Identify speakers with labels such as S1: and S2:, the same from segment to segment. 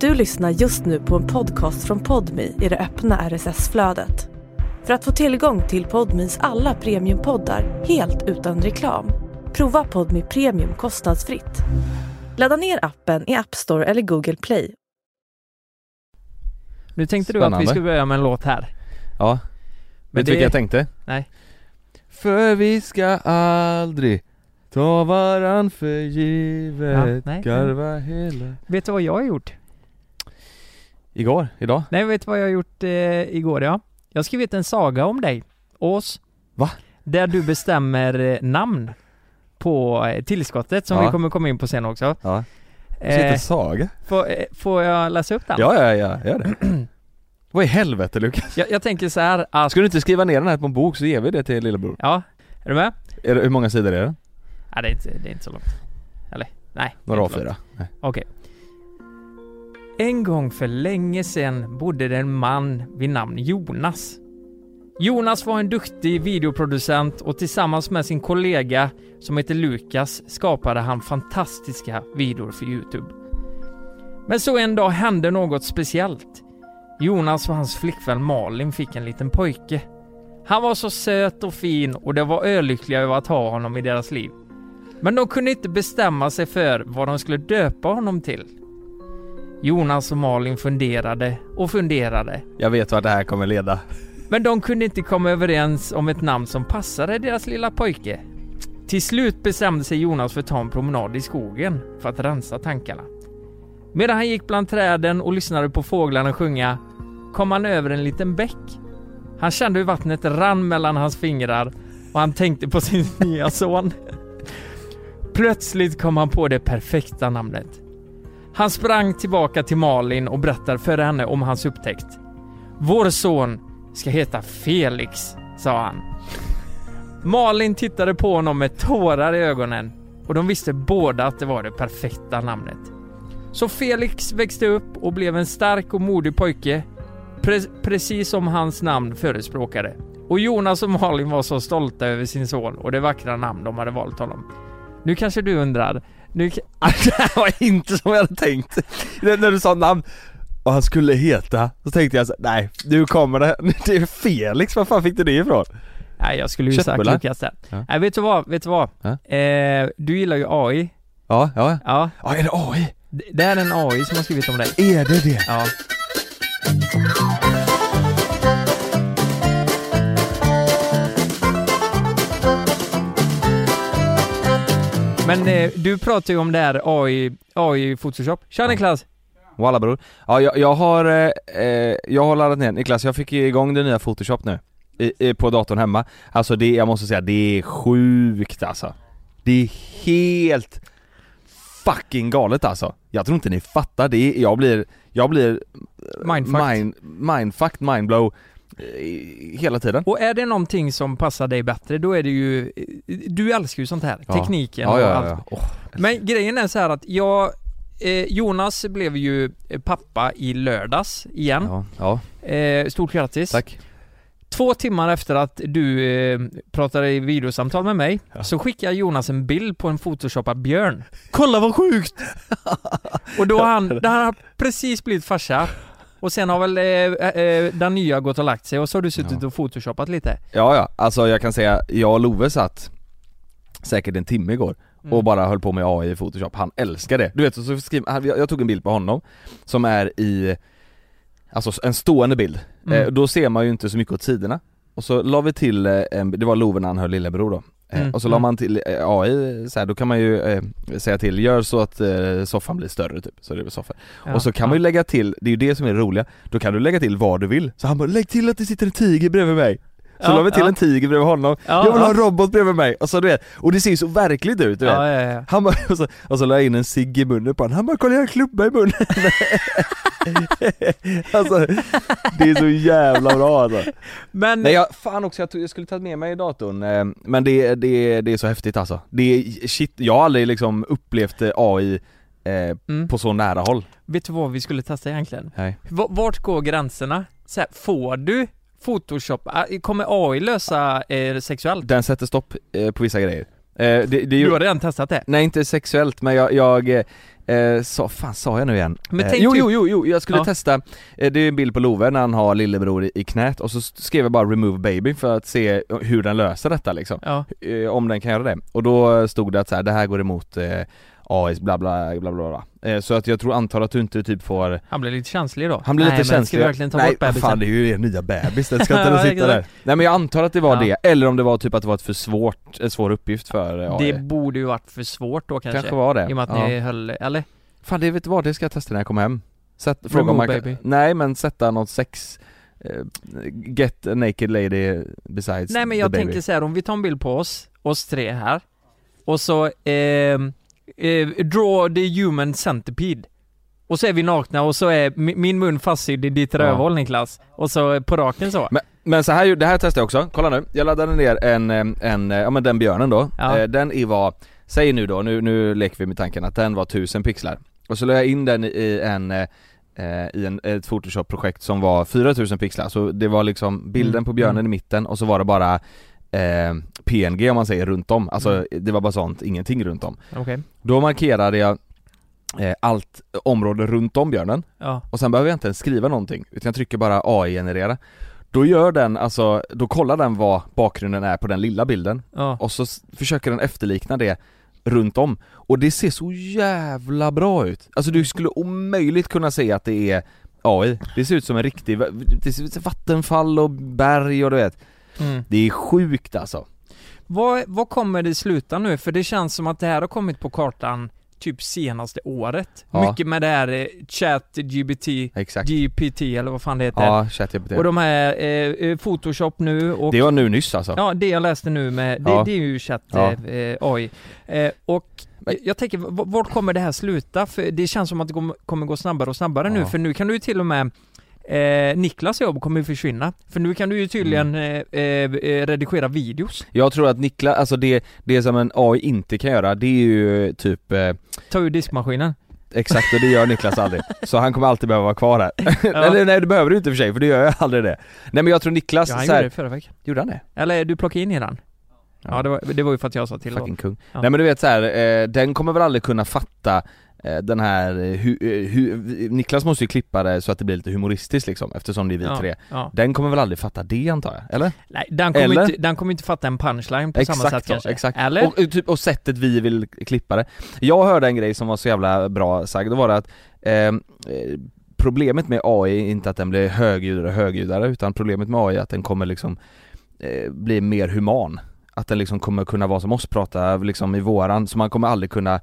S1: Du lyssnar just nu på en podcast från Podmi i det öppna RSS-flödet. För att få tillgång till Podmis alla premiumpoddar helt utan reklam, prova Podmi Premium kostnadsfritt. Ladda ner appen i App Store eller Google Play.
S2: Nu tänkte du att vi
S3: Spännande.
S2: skulle börja med en låt här.
S3: Ja Vet du
S2: det-
S3: vilka jag tänkte?
S2: Nej.
S3: För vi ska aldrig ta varann för givet
S2: Ja, nej.
S3: Garva hela
S2: Vet du vad jag har gjort?
S3: Igår, idag?
S2: Nej, vet du vad jag har gjort eh, igår ja? Jag har skrivit en saga om dig, Ås.
S3: Va?
S2: Där du bestämmer eh, namn på eh, tillskottet som
S3: Ja.
S2: vi kommer komma in på sen också.
S3: Ja. Sitter
S2: Eh,
S3: Saga?
S2: får, eh, får jag läsa upp den?
S3: Ja, ja, ja, gör det Vad i helvete Lukas?
S2: Jag, jag tänker så här att...
S3: Ska du inte skriva ner den här på en bok så ger vi det till lillebror?
S2: Ja, är du med?
S3: Är det, hur många sidor är den?
S2: Nej, det är inte, det är inte så långt. Eller? Nej. det är
S3: Några
S2: inte långt.
S3: A4? Nej.
S2: Okej. En gång för länge sedan bodde det en man vid namn Jonas. Jonas var en duktig videoproducent och tillsammans med sin kollega som heter Lukas skapade han fantastiska videor för Youtube. Men så en dag hände något speciellt. Jonas och hans flickvän Malin fick en liten pojke. Han var så söt och fin och de var ölyckliga över att ha honom i deras liv. Men de kunde inte bestämma sig för vad de skulle döpa honom till. Jonas och Malin funderade och funderade.
S3: Jag vet vart det här kommer leda
S2: Men de kunde inte komma överens om ett namn som passade deras lilla pojke. Till slut bestämde sig Jonas för att ta en promenad i skogen för att rensa tankarna. Medan han gick bland träden och lyssnade på fåglarna sjunga kom han över en liten bäck. Han kände hur vattnet rann mellan hans fingrar och han tänkte på sin nya son. Plötsligt kom han på det perfekta namnet. Han sprang tillbaka till Malin och berättade för henne om hans upptäckt. Vår son ska heta Felix, sa han. Malin tittade på honom med tårar i ögonen och de visste båda att det var det perfekta namnet. Så Felix växte upp och blev en stark och modig pojke, pre- precis som hans namn förespråkade. Och Jonas och Malin var så stolta över sin son och det vackra namn de hade valt honom. Nu kanske du undrar, nu... ka-
S3: Det här var inte som jag hade tänkt När när du sa namn och han skulle heta, så tänkte jag så, nej nu kommer det, det är Felix, var fan fick du det ifrån?
S2: Nej, jag skulle ju sagt
S3: Köttbullar?
S2: Lukas där.
S3: Ja.
S2: Nej, vet du vad? Vet du vad?
S3: Ja.
S2: Eh, du gillar ju AI.
S3: Ja, ja,
S2: Ja,
S3: ja är det AI?
S2: Det- Det här är en AI som har skrivit om dig.
S3: Är det det?
S2: Ja. Men eh, du pratar ju om det här AI, AI Photoshop. Tja Niklas!
S3: Walla bror. Ja jag, jag har, eh, eh, jag har laddat ner, Niklas jag fick ju igång det nya photoshop nu I, i, På datorn hemma Alltså det, jag måste säga det är sjukt alltså Det är helt fucking galet alltså Jag tror inte ni fattar, det är, jag blir, jag blir
S2: Mindfuck.
S3: Mind, mindfucked, mindblow eh, Hela tiden
S2: Och är det någonting som passar dig bättre, då är det ju... Du älskar ju sånt här.
S3: Ja.
S2: Tekniken
S3: Ja,
S2: och
S3: ja,
S2: allt.
S3: ja, ja. Åh,
S2: Men grejen är så här att jag... Eh, Jonas blev ju eh, pappa i lördags igen.
S3: ja, ja,
S2: Eh, stort grattis!
S3: tack
S2: Två timmar efter att du eh, pratade i videosamtal med mig
S3: Ja.
S2: så skickar Jonas en bild på en photoshoppad björn.
S3: Kolla vad sjukt!
S2: Och då har han, då har han precis blivit farsa. Och sen har väl eh, eh, den nya gått och lagt sig och så har du suttit
S3: Ja.
S2: och photoshoppat lite.
S3: Ja ja, alltså jag kan säga, jag och Love satt säkert en timme igår
S2: Mm.
S3: och bara höll på med AI i photoshop, han älskar det. Du vet, så- så skrev, han- jag, jag tog en bild på honom som är i, alltså en stående bild,
S2: Mm.
S3: eh, då ser man ju inte så mycket åt sidorna. Och så la vi till, eh, en, det var Love när han höll lillebror då, eh,
S2: Mm,
S3: och så la
S2: mm.
S3: man till eh, AI så här, då kan man ju eh, säga till, gör så att eh, soffan blir större typ, så det blir soffa.
S2: Ja,
S3: Och så kan man ju
S2: ja.
S3: lägga till, det är ju det som är det roliga, då kan du lägga till vad du vill. Så han bara 'Lägg till att det sitter en tiger bredvid mig' Så
S2: Ja,
S3: la vi till
S2: ja.
S3: en tiger bredvid honom,
S2: Ja,
S3: jag vill ha en
S2: ja.
S3: robot bredvid mig, och så du vet, och det ser ju så verkligt ut du vet
S2: Ja, ja, ja.
S3: Han bara, och, så, och så la jag in en cigg i munnen på honom, han bara 'Kolla jag har en klubba i munnen' Alltså, det är så jävla bra alltså.
S2: Men,
S3: Nej jag, fan också jag, tog, jag skulle tagit med mig datorn, eh, men det, det, det är så häftigt alltså. Det är, shit, jag har aldrig liksom upplevt eh, AI eh,
S2: mm,
S3: på så nära håll.
S2: vet du vad vi skulle testa egentligen?
S3: Nej.
S2: V- vart går gränserna? Så här, får du photoshoppa? Kommer AI lösa eh, sexuellt?
S3: Den sätter stopp eh, på vissa grejer. Eh, det, det är ju,
S2: Du har redan testat det?
S3: Nej inte sexuellt men jag, jag eh, Eh, sa, fan sa jag nu igen?
S2: Men
S3: eh,
S2: tänk
S3: jo,
S2: typ-
S3: jo, jo, jo, jag skulle
S2: Ja.
S3: testa, eh, det är en bild på Love när han har lillebror i, i knät och så skrev jag bara 'remove baby' för att se eh, hur den löser detta liksom
S2: Ja.
S3: eh, om den kan göra det. Och då eh, stod det att så här, det här går emot eh, AIS bla bla bla bla. bla. Eh, så att jag tror antar att du inte typ får,
S2: Han blir lite känslig då.
S3: han blir
S2: Nej,
S3: lite
S2: men
S3: känslig.
S2: Ska vi verkligen ta
S3: Nej,
S2: bort bebisen?
S3: fan det är ju er nya bebis, den ska inte
S2: Ja,
S3: ens sitta där.
S2: exakt.
S3: Nej men jag antar att det var
S2: Ja.
S3: det, eller om det var typ att det var ett för svårt, en svår uppgift för eh, AI.
S2: Det borde ju varit för svårt då kanske.
S3: kanske. var det.
S2: I och med att
S3: Ja.
S2: ni höll, eller?
S3: Fan det vet du vad, det ska jag testa när jag kommer hem. Sätt, fråga om
S2: Remove
S3: man kan,
S2: baby.
S3: nej men sätta något sex eh, Get a naked lady besides
S2: Nej men
S3: the
S2: jag
S3: baby.
S2: tänker så här, om vi tar en bild på oss, oss tre här. Och så, ehm, eh, draw the human centipede. Och så är vi nakna och så är mi- min mun fastsydd i ditt
S3: Ja.
S2: rövhål Niklas. Och så på raken så.
S3: Men, men så här, gjorde- det här testade jag också, kolla nu. Jag laddade ner en, eh, en eh, ja men den björnen då.
S2: Ja.
S3: Eh, Den i var, säg nu då, nu, nu leker vi med tanken att den var 1000 pixlar. Och så la jag in den i en, eh, eh, i en, ett photoshop-projekt som var 4000 pixlar. Så det var liksom bilden
S2: Mm,
S3: på björnen
S2: mm.
S3: i mitten och så var det bara eh, PNG om man säger runt om. Alltså
S2: Mm.
S3: det var bara sånt, ingenting runt om.
S2: Okej.
S3: Då markerade jag eh, allt område runt om björnen
S2: Ja.
S3: och sen behöver jag inte ens skriva någonting utan jag trycker bara AI-generera Då gör den alltså, då kollar den vad bakgrunden är på den lilla bilden
S2: Ja.
S3: och så s- försöker den efterlikna det runt om och det ser så jävla bra ut Alltså du skulle omöjligt kunna säga att det är AI, det ser ut som en riktig, det ser ut som vattenfall och berg och du vet
S2: Mm.
S3: Det är sjukt alltså
S2: Vad, vad kommer det sluta nu? För det känns som att det här har kommit på kartan typ senaste året.
S3: Ja.
S2: Mycket med det här eh, chat, GBT,
S3: Exakt
S2: GPT eller vad fan det heter.
S3: Ja, ChatGPT
S2: Och de här eh, eh, Photoshop nu och
S3: Det var nu nyss alltså
S2: Ja, det jag läste nu med, det,
S3: Ja.
S2: det är ju chatt
S3: Ja.
S2: eh, eh, AI. Eh, och jag- jag tänker, v- vart kommer det här sluta? För det känns som att det kom- kommer gå snabbare och snabbare nu,
S3: Ja.
S2: för nu kan du ju till och med Eh, Niklas jobb kommer ju försvinna, för nu kan du ju tydligen
S3: Mm.
S2: eh, eh, eh, redigera videos.
S3: Jag tror att Niklas, alltså det, det som en AI inte kan göra det är ju typ eh,
S2: Ta ur diskmaskinen.
S3: Exakt och det gör Niklas aldrig. Så han kommer alltid behöva vara kvar här. Eller nej det behöver du inte i och för sig för det gör jag aldrig det. Nej men jag tror Niklas,
S2: ja,
S3: ja,
S2: han
S3: Alltså, så
S2: gjorde det
S3: här,
S2: förra veckan.
S3: gjorde han det?
S2: Eller du plockade in i den. Ja, det, var, det var ju för att jag sa till. då.
S3: Fucking kung.
S2: Ja.
S3: Nej men du vet så här, eh, den kommer väl aldrig kunna fatta eh, den här, eh, hu, eh, hu, Niklas måste ju klippa det så att det blir lite humoristiskt liksom eftersom det är vi
S2: ja,
S3: tre.
S2: Ja.
S3: Den kommer väl aldrig fatta det antar jag, eller?
S2: Nej, den kommer,
S3: Eller?
S2: inte, den kommer inte fatta en punchline på samma
S3: Exakt
S2: sätt
S3: så,
S2: kanske.
S3: exakt.
S2: Eller?
S3: Och, eh, typ, och sättet vi vill klippa det. Jag hörde en grej som var så jävla bra sagd, då var det att eh, eh, problemet med AI är inte att den blir högljuddare och högljuddare utan problemet med AI är att den kommer liksom eh, bli mer human. Att den liksom kommer kunna vara som oss, prata liksom i våran, så man kommer aldrig kunna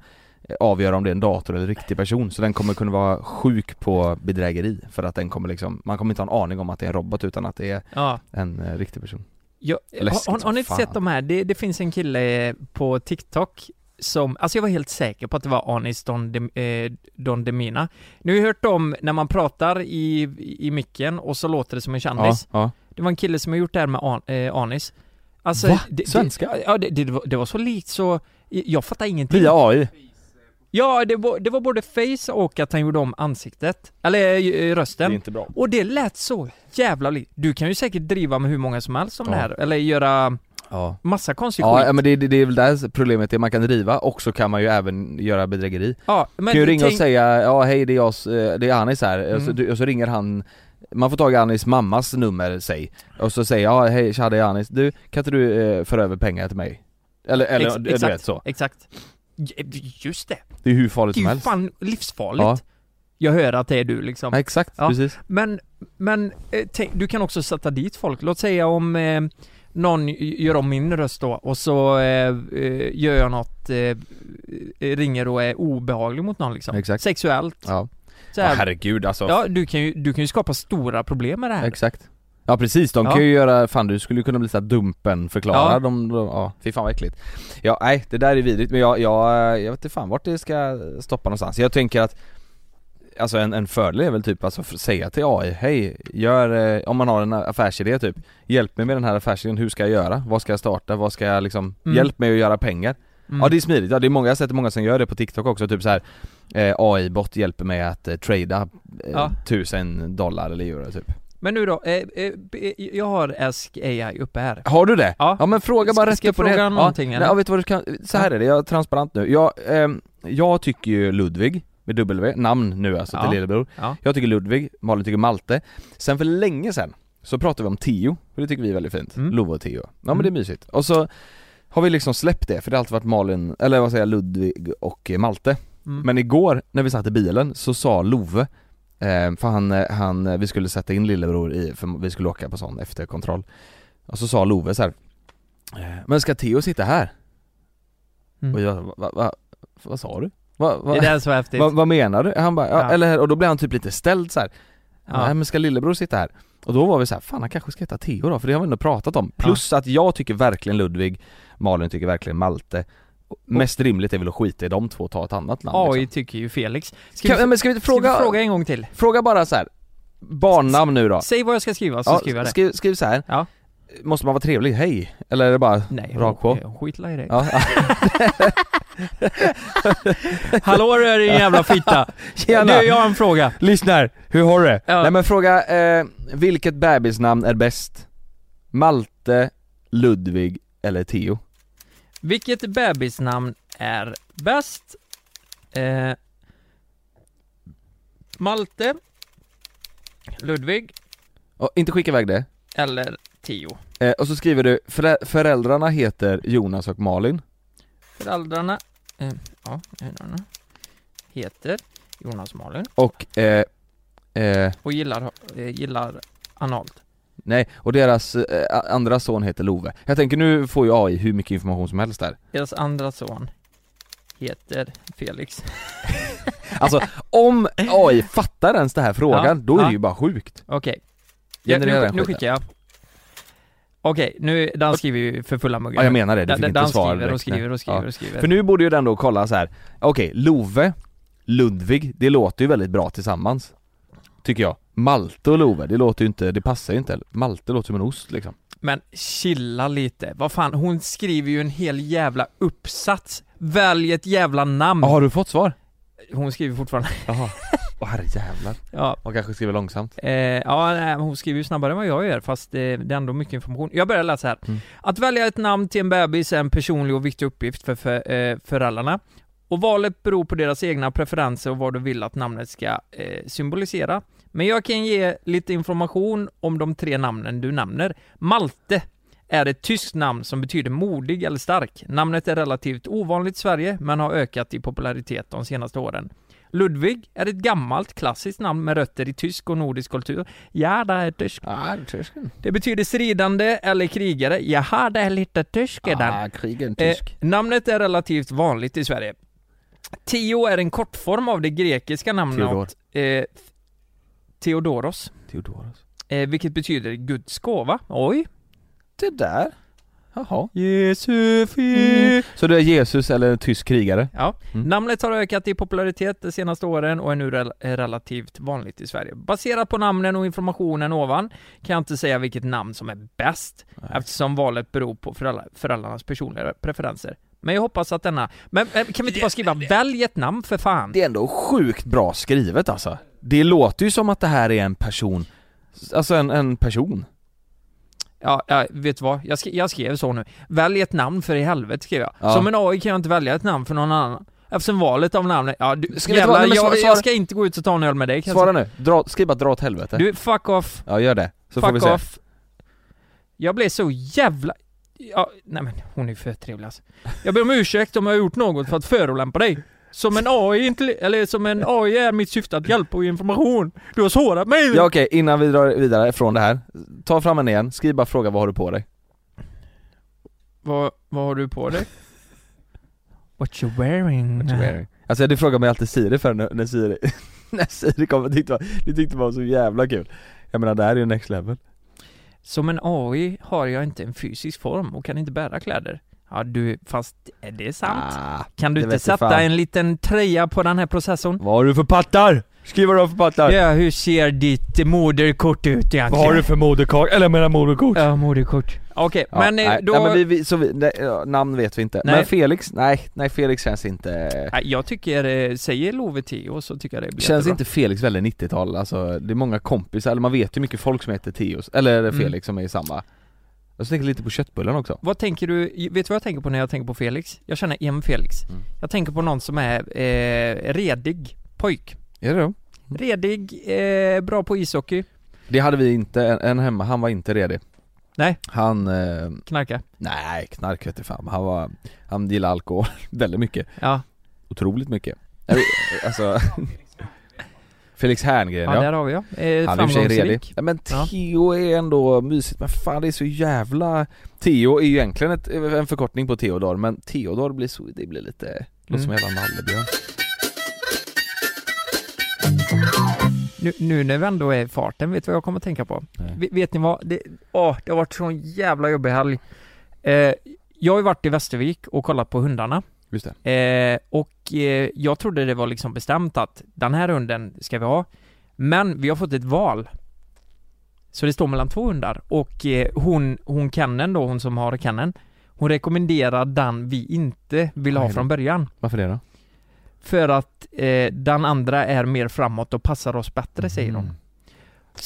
S3: eh, avgöra om det är en dator eller en riktig person, så den kommer kunna vara sjuk på bedrägeri för att den kommer liksom, man kommer inte ha en aning om att det är en robot utan att det är
S2: ja.
S3: en eh, riktig person.
S2: Jag,
S3: Läskigt
S2: har, har, har
S3: som
S2: ni inte
S3: fan.
S2: sett de här? Det, det finns en kille på TikTok som, alltså jag var helt säker på att det var Anis Don, Dem- eh, Don Demina. Ni har ju hört om när man pratar i, i micken och så låter det som en kändis.
S3: ja.
S2: Det var en kille som har gjort det här med an, eh, Anis. Alltså,
S3: Va?
S2: det- det-
S3: Svenska?
S2: Ja, det, det, var, det var så likt så, jag fattar ingenting.
S3: Via AI.
S2: Ja, det var, det var både face och att han gjorde om ansiktet. Eller eh, rösten.
S3: Det är inte bra.
S2: Och det lät så jävla likt. Du kan ju säkert driva med hur många som helst om
S3: Ja.
S2: det här, eller göra
S3: Ja.
S2: massa konstig
S3: Ja,
S2: skit.
S3: ja men det, det, det är väl där problemet är, man kan driva och så kan man ju även göra bedrägeri.
S2: Ja, men
S3: kan ju ringa och
S2: tänk-
S3: säga ja hej det är, jag, s- eh, det är Anis här, och, så,
S2: Mm.
S3: du- och så ringer han man får tag i Anis mammas nummer, säg. Och så säger jag, ja hej tja det är Anis, du kan inte du eh, föra över pengar till mig? Eller, eller
S2: Ex-
S3: du, du
S2: exakt.
S3: vet så.
S2: Exakt. J- eh, Just det.
S3: Det är hur farligt
S2: Det
S3: som
S2: är ju
S3: helst.
S2: fan livsfarligt.
S3: Ja.
S2: Jag hör att det är du liksom.
S3: Ja, exakt,
S2: Ja.
S3: precis.
S2: Men, men eh, tänk, du kan också sätta dit folk. Låt säga om eh, någon y- gör om min röst då och så eh, eh, gör jag något, eh, eh, ringer och är obehaglig mot någon liksom.
S3: Exakt.
S2: Sexuellt.
S3: Ja.
S2: Så här.
S3: herregud alltså.
S2: Ja, du kan, ju, du kan ju skapa stora problem med det här.
S3: Exakt. Ja precis, de kan
S2: Ja.
S3: ju göra, fan du skulle kunna bli såhär dumpen förklara
S2: Ja.
S3: de, de, ja fy fan vad äckligt Ja nej, det där är vidrigt men jag, jag, jag vet inte fan vart det ska stoppa någonstans Jag tänker att Alltså en, en fördel är väl typ alltså för- säga till AI, hej, gör, eh, om man har en affärsidé typ Hjälp mig med den här affärsidén, hur ska jag göra? Vad ska jag starta? Vad ska jag liksom,
S2: Mm.
S3: hjälp mig att göra pengar
S2: Mm.
S3: Ja det är smidigt, ja, det är många, jag har sett många som gör det på TikTok också, typ så här eh, AI-bot hjälper mig att eh, trada eh,
S2: Ja.
S3: tusen dollar eller euro typ
S2: Men nu då, eh, eh, b- jag har Ask AI uppe här.
S3: Har du det?
S2: Ja.
S3: Ja men fråga bara
S2: Ska-
S3: rätt
S2: ska jag
S3: upp och ner.
S2: fråga någonting,
S3: ja.
S2: eller?
S3: Nej, ja, vet du vad du kan, så här är det, jag är transparent nu. Jag, ehm, jag tycker ju Ludvig med W, namn nu alltså
S2: Ja.
S3: till lillebror.
S2: Ja.
S3: Jag tycker Ludvig, Malin tycker Malte. Sen för länge sen så pratade vi om Tio, för det tycker vi är väldigt fint.
S2: Mm.
S3: Love och Tio. Ja men
S2: Mm.
S3: det är mysigt. Och så har vi liksom släppt det, för det har alltid varit Malin, eller vad säger jag, Ludvig och eh, Malte.
S2: Mm.
S3: Men igår när vi satt i bilen så sa Love eh, för han, eh, han, eh, vi skulle sätta in lillebror i, för vi skulle åka på sån efterkontroll Och så sa Love så här. eh, Men ska Theo sitta här?
S2: Mm.
S3: Och jag, va, va, va, vad sa du? Va, va,
S2: Det där är så häftigt.
S3: vad, vad menar du? Han bara, ja,
S2: Ja.
S3: eller och då blev han typ lite ställd så här. Han bara,
S2: Ja.
S3: Nej men ska lillebror sitta här? Och då var vi så här, fan han kanske ska heta Theo då, för det har vi ändå pratat om.
S2: Ja.
S3: Plus att jag tycker verkligen Ludvig, Malin tycker verkligen Malte. Och Mest rimligt är väl att skita i de två och ta ett annat namn
S2: AI
S3: liksom.
S2: tycker ju Felix. Ska,
S3: kan,
S2: vi,
S3: nej, men ska vi inte
S2: fråga...
S3: fråga,
S2: ska vi
S3: fråga,
S2: fråga en gång till?
S3: bara så här. barnnamn nu då?
S2: Säg vad jag ska skriva så
S3: Ja,
S2: skriver jag det.
S3: skriv, skriv så här.
S2: Ja.
S3: måste man vara trevlig? Hej? Eller är det bara
S2: Nej,
S3: rakt på?
S2: skitla i det.
S3: Ja.
S2: Hallå du din jävla fitta!
S3: Tjena!
S2: Du, jag har en fråga.
S3: Lyssnar, hur har du det?
S2: Ja.
S3: Nej men fråga, eh, vilket bebisnamn är bäst? Malte, Ludvig eller Theo?
S2: Vilket bebisnamn är bäst? Eh, Malte, Ludvig
S3: Och inte skicka iväg det.
S2: eller Tio.
S3: Eh, och så skriver du, förä- föräldrarna heter Jonas och Malin.
S2: Föräldrarna, eh, ja, föräldrarna heter Jonas Malin
S3: Och, eh, eh,
S2: och gillar, eh, gillar analt.
S3: nej, och deras eh, a- andra son heter Love. Jag tänker nu får ju AI hur mycket information som helst där.
S2: Deras andra son heter Felix.
S3: Alltså om AI fattar ens den här frågan,
S2: Ja,
S3: då är
S2: ja.
S3: det ju bara sjukt.
S2: Okej, Ja,
S3: Generera
S2: nu,
S3: den
S2: nu
S3: skiten.
S2: skickar jag. Okej, nu, Dan skriver ju för fulla muggar.
S3: Ja jag menar det, du fick
S2: Dan,
S3: inte
S2: Dan
S3: svar
S2: skriver och
S3: direkt. Nej.
S2: skriver och skriver
S3: Ja.
S2: och skriver.
S3: För nu borde ju den då kolla så här. okej, Love, Ludvig, det låter ju väldigt bra tillsammans. Tycker jag. Malte och Love, det låter ju inte, det passar ju inte. heller. Malte låter som en ost liksom.
S2: Men chilla lite, vad fan, hon skriver ju en hel jävla uppsats. Välj ett jävla namn.
S3: Ja, har du fått svar?
S2: Hon skriver fortfarande.
S3: Jaha. Åh herrejävlar.
S2: Ja,
S3: Man kanske skriver långsamt.
S2: eh, ja nej, men hon skriver ju snabbare än vad jag gör, fast eh, det är ändå mycket information. Jag börjar läsa här.
S3: Mm.
S2: Att välja ett namn till en bebis är en personlig och viktig uppgift för, för eh, föräldrarna. Och valet beror på deras egna preferenser och vad du vill att namnet ska eh, symbolisera. Men jag kan ge lite information om de tre namnen du nämner. Malte är ett tyskt namn som betyder modig eller stark. Namnet är relativt ovanligt i Sverige, men har ökat i popularitet de senaste åren. Ludvig är ett gammalt klassiskt namn med rötter i tysk och nordisk kultur. Ja, det är tysk.
S3: Ja, tysken.
S2: Det betyder stridande eller krigare. Jaha, det är lite tysk i den.
S3: Ah, krigen
S2: Eh, namnet är relativt vanligt i Sverige. Tio är en kortform av det grekiska
S3: Theodor.
S2: namnet eh, Theodoros,
S3: Theodoros.
S2: eh, vilket betyder Guds gåva. Oj.
S3: Det där. Jaha. Mm.
S2: Jesu
S3: Så det är Jesus eller en tysk krigare?
S2: Ja,
S3: Mm.
S2: namnet har ökat i popularitet de senaste åren och är nu rel- är relativt vanligt i Sverige. Baserat på namnen och informationen ovan kan jag inte säga vilket namn som är bäst
S3: Nej.
S2: eftersom valet beror på föräldra- föräldrarnas personliga preferenser. Men jag hoppas att denna... Men eh, kan vi inte bara skriva välj ett namn för fan?
S3: Det är ändå sjukt bra skrivet alltså. Det låter ju som att det här är en person, alltså en, en person.
S2: Ja, ja vet du vad? Jag, sk- jag skrev så nu. Välj ett namn för i helvete skrev jag.
S3: Ja.
S2: Som en AI kan jag inte välja ett namn för någon annan. Eftersom valet av namnet... Ja, du,
S3: Ska vi inte
S2: jävlar,
S3: vara- nej, men
S2: jag,
S3: svara-
S2: jag ska inte gå ut och ta en öl med dig kan jag
S3: Svara nu, dra, skriv bara dra åt helvete.
S2: säga. Du, fuck off.
S3: Ja gör det, så får vi
S2: Fuck
S3: se.
S2: off. Jag blev så jävla... Ja, nej men hon är för trevlig alltså. Jag ber om ursäkt om jag har gjort något för att förolämpa dig. Som en AI, inte- eller som en AI är mitt syfte att hjälpa och ge information. Du har sårat mig!
S3: Ja okej, innan vi drar vidare från det här, ta fram en igen, skriv bara fråga vad har du på dig?
S2: Vad, vad har du på dig? What you wearing?
S3: Alltså det frågar mig alltid Siri för när, när Siri, när Siri kom och tyckte, det tyckte man var så jävla kul Jag menar det här är ju next level
S2: Som en AI har jag inte en fysisk form och kan inte bära kläder. Ja du, fast är det sant?
S3: ah,
S2: kan du
S3: det
S2: inte
S3: vet jag
S2: sätta
S3: fan.
S2: en liten tröja på den här processorn?
S3: Vad har du för pattar? Skriv vad du har för pattar!
S2: Ja, hur ser ditt eh, moderkort ut egentligen?
S3: Vad har du för moderkaka? Eller jag menar moderkort!
S2: Ja, moderkort. Okej,
S3: Ja,
S2: men eh,
S3: nej,
S2: då...
S3: nej, men vi, vi, så vi, nej, ja, namn vet vi inte,
S2: Nej.
S3: men Felix, nej, nej Felix känns inte
S2: Nej, jag tycker, eh, säger Love 10 så tycker jag det blir
S3: Känns
S2: jättebra.
S3: inte Felix väldigt 90-tal? Alltså det är många kompisar, eller man vet ju mycket folk som heter Theos, eller
S2: Mm.
S3: Felix som är i samma Jag tänker lite på köttbullarna också
S2: Vad tänker du, vet du vad jag tänker på när jag tänker på Felix? Jag känner en Felix.
S3: Mm.
S2: Jag tänker på någon som är eh, redig. Pojk.
S3: Är det då?
S2: Redig, eh, bra på ishockey,
S3: Det hade vi inte, en, en hemma, han var inte redig
S2: Nej.
S3: Han, eh,
S2: knarka.
S3: nej knark vete fan, han var, han gillade alkohol väldigt mycket
S2: Ja,
S3: Otroligt mycket Nej, vi- Alltså Felix Herngren
S2: ja,
S3: ja,
S2: där har vi ja. Eh,
S3: Han är i och för sig
S2: framgångsrik.
S3: redig Nej, Men
S2: Ja.
S3: Theo är ändå mysigt, men fan det är så jävla Theo är ju egentligen ett, en förkortning på Theodor men Theodor blir så, det blir lite, låter som en jävla nallebjörn
S2: Nu, nu när vi ändå är i farten, vet du vad jag kommer att tänka på?
S3: Nej.
S2: Ve- Vet ni vad? Det, åh, det har varit sån jävla jobbig helg. Eh, jag har ju varit i Västervik och kollat på hundarna.
S3: Just det
S2: Eh, och eh, jag trodde det var liksom bestämt att den här hunden ska vi ha. Men vi har fått ett val. Så det står mellan två hundar och eh, hon, hon kenneln då, hon som har kenneln Hon rekommenderar den vi inte vill ha
S3: Aj då.
S2: från början.
S3: Varför det då?
S2: För att eh, den andra är mer framåt och passar oss bättre säger hon.
S3: Mm.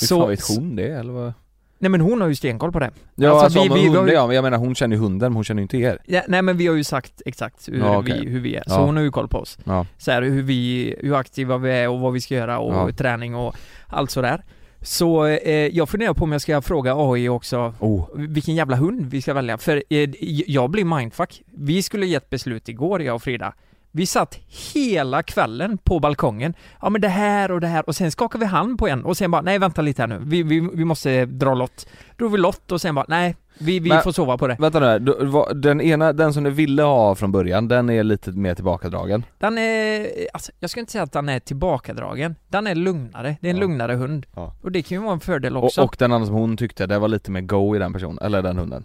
S3: Hur fan vet hon det eller vad?
S2: Nej men hon har ju stenkoll på det.
S3: Ja
S2: Alltså,
S3: alltså,
S2: vi-
S3: men
S2: vi-
S3: hon,
S2: vi-
S3: ja, men jag menar hon känner ju hunden men hon känner ju inte er
S2: Ja, nej men vi har ju sagt exakt hur,
S3: Ja, okej.
S2: vi, hur vi är, så
S3: Ja.
S2: hon har ju koll på oss.
S3: Ja.
S2: Så här, hur, vi, hur aktiva vi är och vad vi ska göra och
S3: Ja.
S2: träning och allt sådär. Så eh, jag funderar på om jag ska fråga AI också
S3: Oh,
S2: vilken jävla hund vi ska välja. För eh, jag blir mindfuck. Vi skulle gett beslut igår jag och Frida. Vi satt hela kvällen på balkongen. Ja men det här och det här och sen skakade vi hand på en och sen bara nej vänta lite här nu. Vi, vi, vi måste dra lott. Drog vi lott och sen bara nej vi, vi
S3: Men-
S2: får sova på det.
S3: Vänta nu, här. Du- vad- den ena, den som du ville ha från början, den är lite mer tillbakadragen
S2: Den är, alltså, jag ska inte säga att den är tillbakadragen. Den är lugnare. Det är en
S3: Ja.
S2: lugnare hund.
S3: Ja.
S2: Och det kan ju vara en fördel
S3: och,
S2: också.
S3: och den andra som hon tyckte, det var lite mer go i den personen, eller den hunden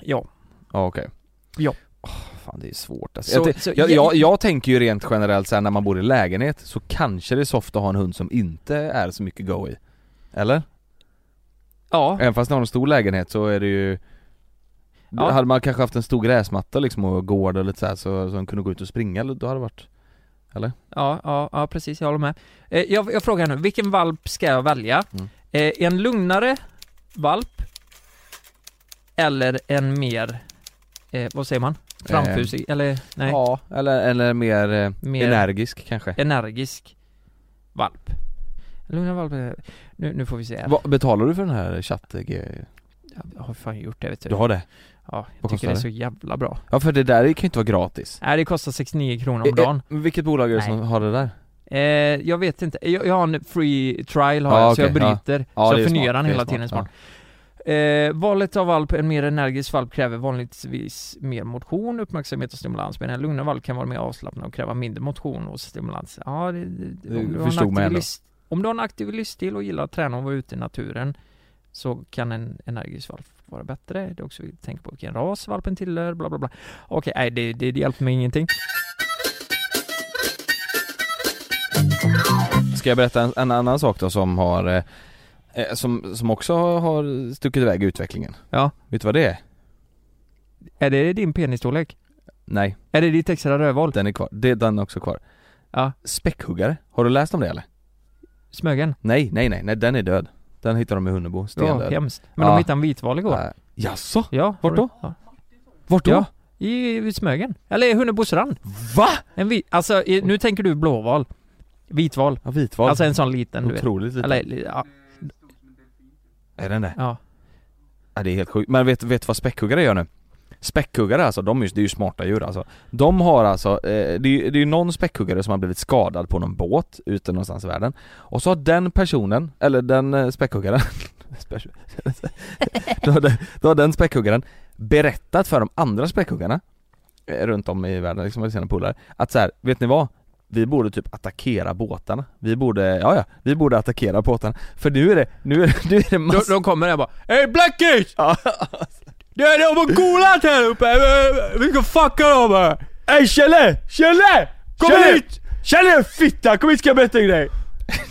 S2: ja.
S3: Ja okej
S2: Ja.
S3: Åh, Fan det är svårt alltså.
S2: Så-
S3: jag,
S2: så-
S3: te- jag, jag, jag tänker ju rent generellt såhär när man bor i lägenhet så kanske det är soft att ha en hund som inte är så mycket go i Eller?
S2: Ja.
S3: Även fast man har en stor lägenhet så är det ju
S2: Ja.
S3: Hade man kanske haft en stor gräsmatta liksom och gård och lite så här så, så de kunde gå ut och springa, då hade det varit
S2: Ja, ja, ja precis, jag håller med. Eh, jag, jag frågar nu, vilken valp ska jag välja?
S3: Mm.
S2: Eh, en lugnare valp eller en mer, eh, vad säger man? Framfusig, eller nej,
S3: Eh. Ja, eller, eller mer, eh,
S2: Mer-
S3: energisk kanske
S2: energisk valp. Lugnare valp, eh, nu, nu får vi se här.
S3: Vad Betalar du för den här eh, chatten?
S2: Jag har fan gjort det vet du.
S3: Du har det?
S2: Ja, jag
S3: Vad
S2: tycker
S3: kostar
S2: det är
S3: det?
S2: så jävla bra.
S3: Ja för det där kan ju inte vara gratis
S2: Nej, det kostar 69 kronor om
S3: Eh, eh,
S2: dagen.
S3: Vilket bolag är det som
S2: Nej.
S3: har det där?
S2: Eh, jag vet inte, jag, jag har en free trial har
S3: Ja,
S2: jag, så
S3: okej,
S2: jag bryter.
S3: Ja,
S2: så
S3: det
S2: jag
S3: är
S2: förnyar den
S3: smart, det är
S2: hela
S3: smart,
S2: tiden smart. Eh, valet av valp, en mer energisk valp kräver vanligtvis mer motion, uppmärksamhet och stimulans medan en lugnare valp kan vara mer avslappnad och kräva mindre motion och stimulans. Ja, det, det,
S3: Det
S2: om, du har en
S3: förstod man
S2: aktiv
S3: ändå.
S2: livs- om du har en aktiv livsstil och gillar att träna och vara ute i naturen så kan en energisk valp vara bättre. Det är också viktigt att tänka på vilken ras valpen tillhör, bla bla bla. Okej, nej det, det, det hjälper mig ingenting.
S3: Ska jag berätta en, en annan sak då som har eh, eh, som, som också har stuckit iväg i utvecklingen?
S2: Ja.
S3: Vet du vad det är?
S2: Är det din penisstorlek?
S3: Nej,
S2: Är det ditt extra rövhål?
S3: den är kvar. Det, den är också kvar.
S2: Ja.
S3: Späckhuggare, har du läst om det eller?
S2: Smögen?
S3: Nej, nej, nej, nej den är död. Den hittar de i Hunnebo,
S2: Ja,
S3: stendöd.
S2: hemskt. Men
S3: Ja.
S2: de hittade en vitval igår.
S3: Äh, jaså?
S2: Ja,
S3: Vart
S2: har
S3: då?
S2: du- Ja.
S3: Vart då?
S2: Ja. I, I Smögen. Eller i Hunnebostrand.
S3: Va?
S2: En vit, alltså i, nu tänker du blåval. Vitval.
S3: Ja, vitval.
S2: Alltså en sån liten du vet.
S3: Otroligt liten.
S2: Eller, ja.
S3: Är den det?
S2: ja.
S3: Ja, det är helt sjukt. Men vet vet du vad späckhuggare gör nu? Späckhuggare alltså, de är ju, det är ju smarta djur alltså. De har alltså, eh, det är ju det är ju någon späckhuggare som har blivit skadad på någon båt ute någonstans i världen. Och så har den personen, eller den eh, späckhuggaren, spä- då, har den, då har den späckhuggaren berättat för de andra späckhuggarna eh, runt om i världen, liksom med sina polare, att så här, vet ni vad? Vi borde typ attackera båtarna. Vi borde, ja ja, vi borde attackera båtarna. För nu är det, nu är det, nu är det
S2: De,
S3: massor...
S2: de kommer där och bara "Eh, Hej Blackies!
S3: Ja.
S2: Det är de har golat här uppe! Vi ska fucka dem här!
S3: Ey Kjelle! Kjelle!
S2: Kom hit!
S3: Kjelle fitta, kom hit ska jag berätta en grej!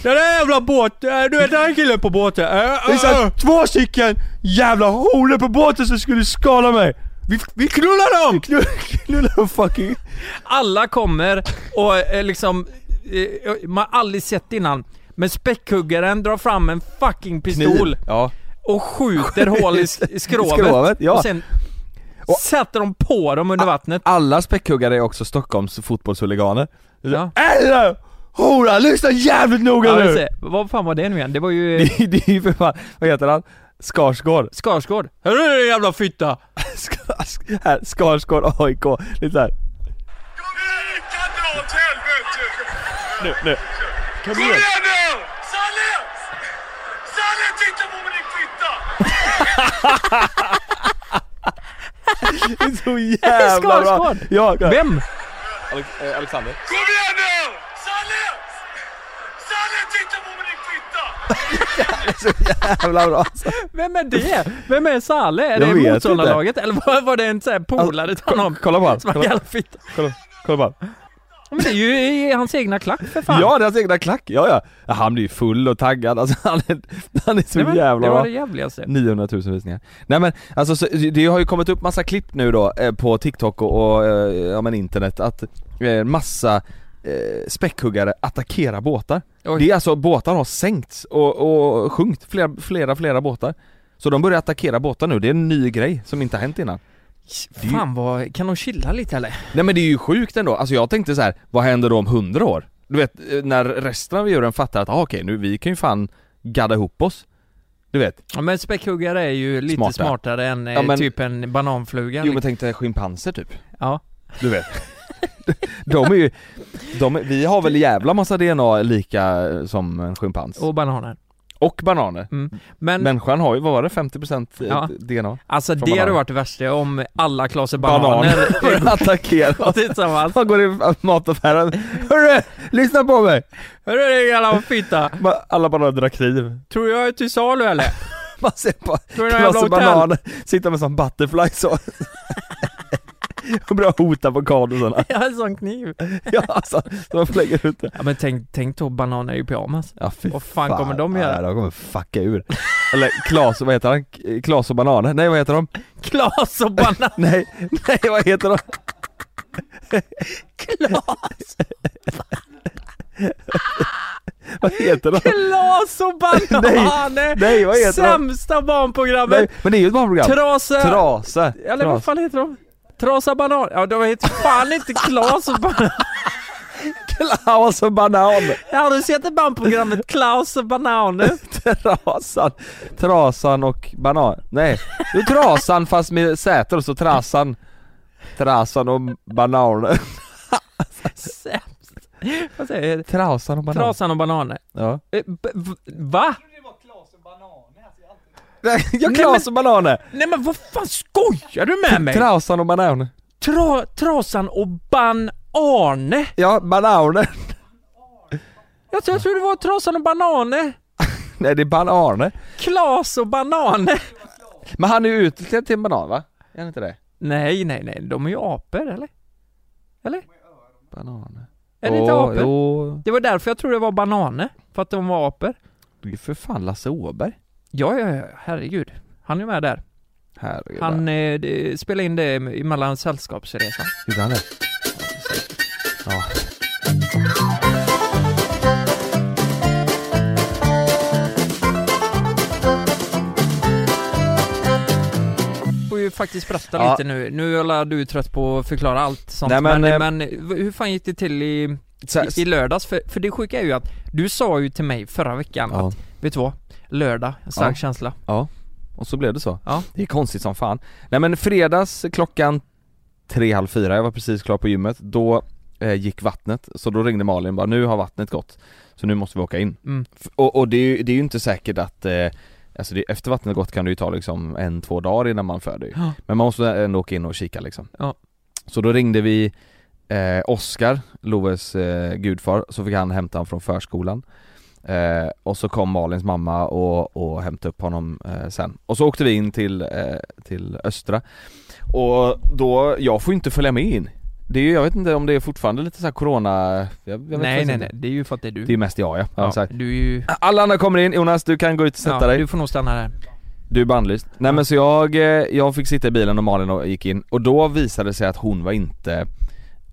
S2: Den där jävla båten! Du vet den här killen på båten? eh,
S3: Det
S2: Ah.
S3: satt två stycken jävla horor på båten som skulle skala mig!
S2: Vi, vi knullar dem!
S3: Knulla fucking...
S2: Alla kommer och eh, liksom, eh, man har aldrig sett innan. Men späckhuggaren drar fram en fucking pistol
S3: Ja.
S2: och skjuter hål i sk- skrovet.
S3: Skrovet, ja.
S2: Och sen
S3: Och- Ah,
S2: sätter de på dem under vattnet.
S3: Alla späckhuggare är också Stockholms fotbollshuliganer.
S2: Ja.
S3: Eller! Hora, lyssna jävligt noga
S2: Ja,
S3: nu!
S2: just det. Vad fan var det nu igen? Det var ju eh,
S3: Det, det är ju för fan, vad heter han? Skarsgård.
S2: Skarsgård. Hörru du jävla fitta!
S3: Skars- här, Skarsgård AIK. Lite såhär.
S4: Kom igen! Kan dra åt helvete!
S3: Nu, nu. Kom
S4: Kom
S3: igen!
S4: igen nu! Salle! Salle, titta på mig din fitta!
S3: Det är så jävla bra!
S2: Skarsgård.
S3: Ja, kom.
S2: Vem?
S3: Alexander.
S4: Kom igen nu! Salle! Salle, titta på mig din fitta!
S3: Jävla bra alltså.
S2: Vem är det? Vem är Saleh? Är
S3: Jag
S2: det
S3: vet Alltså,
S2: motståndarlaget? Eller var, var det en sån här polare till honom?
S3: Kolla på
S2: Som var
S3: honom.
S2: jävla fitta.
S3: Kolla, kolla på honom.
S2: Men det är ju i hans egna klack för fan.
S3: Ja, deras egna klack. Ja, ja. ja. Han blir ju full och taggad. Alltså, han, är, han är så
S2: Nej, men,
S3: jävla
S2: Det var
S3: bra.
S2: det jävligaste.
S3: 900 000 visningar. Nej men alltså så, det har ju kommit upp massa klipp nu då eh, på TikTok och, och eh, ja men internet att eh, massa eh, späckhuggare attackerar båtar.
S2: Oj.
S3: Det är alltså båtar har sänkts och, och sjunkit, flera, flera, flera båtar. Så de börjar attackera båtar nu, det är en ny grej som inte har hänt innan. är ju-
S2: Fan vad, kan de chilla lite eller?
S3: Nej men det är ju sjukt ändå, alltså jag tänkte så här: vad händer då om 100 år? Du vet, eh, när resten av djuren fattar att ah, okej nu, vi kan ju fan gadda ihop oss. Du vet,
S2: Ja men späckhuggare är ju lite
S3: Smarta.
S2: smartare än eh,
S3: Ja, men-
S2: typ en bananfluga.
S3: jo men tänk dig schimpanser typ.
S2: Ja.
S3: Du vet. De är ju, de är, vi har väl jävla massa DNA lika eh, som en schimpans. Och,
S2: Och bananer.
S3: bananer.
S2: Men,
S3: Människan har ju, vad var det, eh, 50%
S2: Ja.
S3: DNA?
S2: alltså
S3: från
S2: det hade
S3: bananer.
S2: varit det värsta om alla klaser bananer
S3: attackerar
S2: var
S3: oss.
S2: tillsammans.
S3: Han går i mataffären, hörru! Lyssna på mig!
S2: Hörru du jävla fitta!
S3: Ma- Alla bananer drar kniv.
S2: Tror du jag är till salu eller?
S3: Man ser på
S2: Tror du jag är jävla
S3: klasse
S2: hotell?
S3: bananer, sitta med sån butterfly så. Och börjar hota på karln och sådana.
S2: Jag har en sån kniv.
S3: Ja alltså, så man lägger ut det.
S2: Ja men tänk, tänk då bananer i pyjamas.
S3: Ja, fy
S2: Vad fan kommer de göra?
S3: Ja, de kommer fucka ur. Eller Klas, vad heter han? K- Klas och bananer? Nej vad heter de?
S2: Klas och banan
S3: Nej, nej vad heter de?
S2: Klas!
S3: Vad heter de?
S2: Klas och bananer!
S3: Nej vad heter de?
S2: Sämsta
S3: Nej,
S2: barnprogrammet!
S3: men det är ju ett barnprogram.
S2: Trasa!
S3: Trasa.
S2: Eller vad
S3: Tras.
S2: fan heter de? Trasa banan? Ja de heter fan inte Klas och banan.
S3: Klas och banan.
S2: Har du sett bandprogrammet Klaus och bananer?
S3: Trasan. Trasan och banan. Nej, det är trasan fast med säter och så trasan. Trasan och banan.
S2: Sämst. Vad säger jag?
S3: Trasan och banan.
S2: Trasan och bananer.
S3: Ja.
S2: Eh, b- v- Va?
S3: Ja,
S2: men-
S3: Klas och bananer.
S2: Nej men vad fan skojar du med mig?
S3: Trasan och banan.
S2: Tra, trasan och banane?
S3: Ja, bananer.
S2: Jag tror, jag tror det var trasan och banane.
S3: Nej det är bananer.
S2: Klas och banane.
S3: Men han är ju utklädd till en banan va? Är han inte det?
S2: Nej, nej, nej. De är ju apor, eller? Eller?
S3: Bananer.
S2: Är det inte
S3: Åh,
S2: apor?
S3: Jo,
S2: Det var därför jag trodde det var banane. För att de var apor.
S3: det är för fan Lasse Åberg.
S2: Ja, ja, ja. Herregud. Han är ju med där.
S3: Herregud.
S2: Han eh, de- spelade in det mellan Sällskapsresan.
S3: Gjorde han det? Ja.
S2: får ju faktiskt berätta
S3: Ja.
S2: lite nu. Nu är du trött på att förklara allt sånt.
S3: Nej,
S2: men,
S3: men, eh,
S2: men, eh, v- hur fan gick det till i,
S3: Så här,
S2: i, i lördags? För, för det sjuka är ju att du sa ju till mig förra veckan
S3: ja.
S2: att, vet du vad? Lördag, en stark
S3: Ja.
S2: känsla.
S3: Och så blev det så.
S2: Ja.
S3: Det är konstigt som fan. Nej men fredags klockan tre, halv fyra, jag var precis klar på gymmet, då eh, gick vattnet, så då ringde Malin och bara nu har vattnet gått, så nu måste vi åka in.
S2: Mm.
S3: F- Och, och det, är ju, det är ju inte säkert att, eh, alltså det, efter vattnet gått kan det ju ta liksom en, två dagar innan man föder ju.
S2: Ja.
S3: Men man måste ändå åka in och kika liksom.
S2: Ja.
S3: Så då ringde vi eh, Oskar, Loves eh, gudfar, så fick han hämta honom från förskolan. Eh, och så kom Malins mamma och, och hämtade upp honom eh, sen. Och så åkte vi in till, eh, till Östra. Och då, jag får ju inte följa med in. Det är ju, jag vet inte om det är fortfarande lite så här corona... Jag, jag vet
S2: Nej,
S3: faktiskt
S2: nej,
S3: inte.
S2: nej. Det är ju för att det är du.
S3: Det är mest jag ja. ja.
S2: ja,
S3: exakt.
S2: du är ju...
S3: Alla andra kommer in, Jonas du kan gå ut och sätta
S2: Ja,
S3: dig.
S2: du får nog stanna där.
S3: Du är bannlyst. Nej men så jag, eh, jag fick sitta i bilen och Malin och gick in och då visade det sig att hon var inte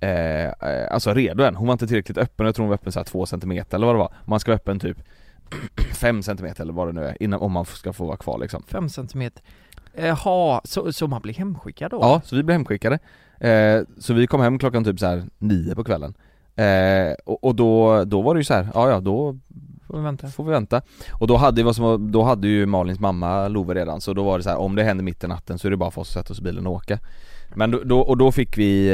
S3: eh, eh, Alltså redo än, hon var inte tillräckligt öppen, jag tror hon var öppen såhär 2 cm eller vad det var Man ska vara öppen typ 5 cm eller vad det nu är innan, om man ska få vara kvar liksom
S2: Fem centimeter. Jaha, så, så man blir hemskickad då?
S3: Ja, så vi blev hemskickade eh, Så vi kom hem klockan typ såhär 9 på kvällen Eh, och, och då, då var det ju så här, ja ja då
S2: Får vi vänta.
S3: Får vi vänta. Och då hade, vi vad som var, då hade ju Malins mamma Love redan så då var det så här om det händer mitt i natten så är det bara för oss att sätta oss i bilen och åka. Men då, då, och då fick vi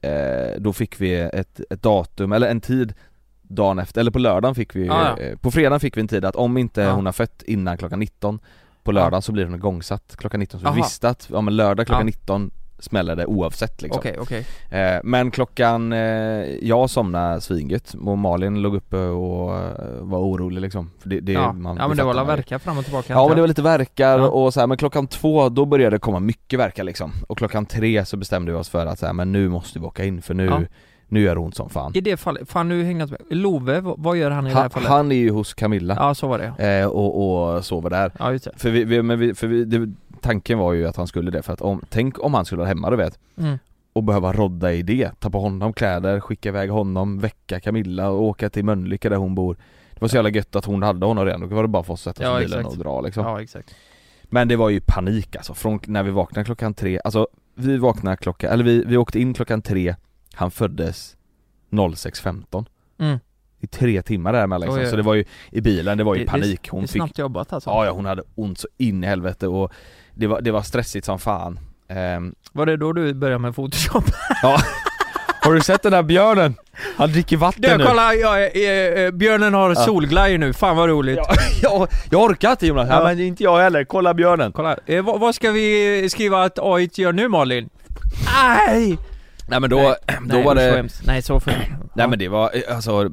S3: eh, eh, Då fick vi ett, ett datum, eller en tid dagen efter, eller på lördagen fick vi
S2: Ah, Ja, ja.
S3: eh, På fredagen fick vi en tid att om inte
S2: Ja.
S3: hon har fött innan klockan 19 På lördagen så blir hon igångsatt klockan 19 så
S2: Aha.
S3: vi visste att, ja men lördag klockan
S2: Ja.
S3: 19 smäller det oavsett liksom.
S2: Okej, okej.
S3: Eh, Men klockan, eh, jag somnade svingött och Malin låg uppe och eh, var orolig liksom För det, det,
S2: Ja.
S3: man,
S2: ja men det
S3: fattar
S2: var la
S3: man ju.
S2: verka fram och tillbaka.
S3: Ja
S2: antar
S3: men det
S2: jag.
S3: var lite verkar
S2: Ja.
S3: och så här, men klockan två då började det komma mycket verkar liksom Och klockan tre så bestämde vi oss för att så här, men nu måste vi åka in för nu,
S2: Ja.
S3: nu gör det ont som fan
S2: I det fallet, fan nu hänger jag inte med. Love, vad- vad gör han i det här
S3: han,
S2: fallet?
S3: han är ju hos Camilla
S2: Ja så var det ja.
S3: eh, och, och sover där
S2: Ja just det.
S3: För, vi, vi, men vi, för vi, det, tanken var ju att han skulle det för att om, tänk om han skulle vara hemma du vet
S2: Mm.
S3: och behöva rodda i det, ta på honom kläder, skicka iväg honom, väcka Camilla och åka till Mölnlycke där hon bor Det var så jävla gött att hon hade honom redan, då var det bara för oss att sätta
S2: Ja,
S3: oss i bilen
S2: exakt.
S3: och dra liksom
S2: Ja exakt.
S3: Men det var ju panik alltså, från när vi vaknade klockan tre, alltså vi vaknade klockan, eller vi, vi åkte in klockan tre, han föddes 06.15
S2: Mm.
S3: I tre timmar däremellan liksom.
S2: Oj, oj.
S3: så det var ju i bilen, det var ju
S2: Det- det-
S3: panik,
S2: Det är
S3: hon fick
S2: snabbt jobbat alltså.
S3: Ja, ja hon hade ont så in i helvete och det var, det var stressigt som fan Ehm,
S2: Var det då du började med Photoshop?
S3: Har du sett den där björnen? Han dricker vatten
S2: Du
S3: nu
S2: kolla, jag, är- eh, eh, björnen har solglajjor nu, fan vad roligt.
S3: Ja, jag, jag orkar inte Jonas,
S2: Ja.
S3: ja. men inte jag heller, kolla björnen
S2: Kolla, eh, vad, vad ska vi skriva att AI gör nu Malin? Aj!
S3: Nej men då,
S2: Nej,
S3: då
S2: Ah, Nej,
S3: var
S2: usch,
S3: det,
S2: vad hemskt. Nej så för...
S3: nej men det var eh, alltså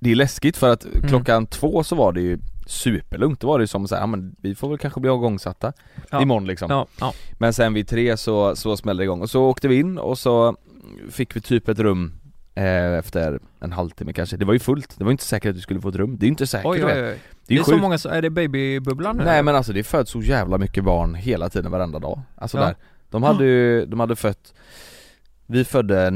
S3: Det är läskigt för att klockan två så var det ju superlugnt, då var det ju som så här, ja, men vi får väl kanske bli igångsatta
S2: Ja.
S3: imorgon liksom
S2: Ja, ja.
S3: Men sen vid tre så, så smällde det igång och så åkte vi in och så fick vi typ ett rum eh, efter en halvtimme kanske, det var ju fullt, det var inte säkert att du skulle få ett rum, det är inte säkert
S2: Oj,
S3: du
S2: oj,
S3: vet.
S2: oj. Det,
S3: Det är,
S2: är
S3: ju
S2: så
S3: sjukt.
S2: många, så- är det babybubblan nu?
S3: Nej men alltså det föds så jävla mycket barn hela tiden varenda dag, alltså
S2: Ja.
S3: där De hade ju, de hade fött Vi födde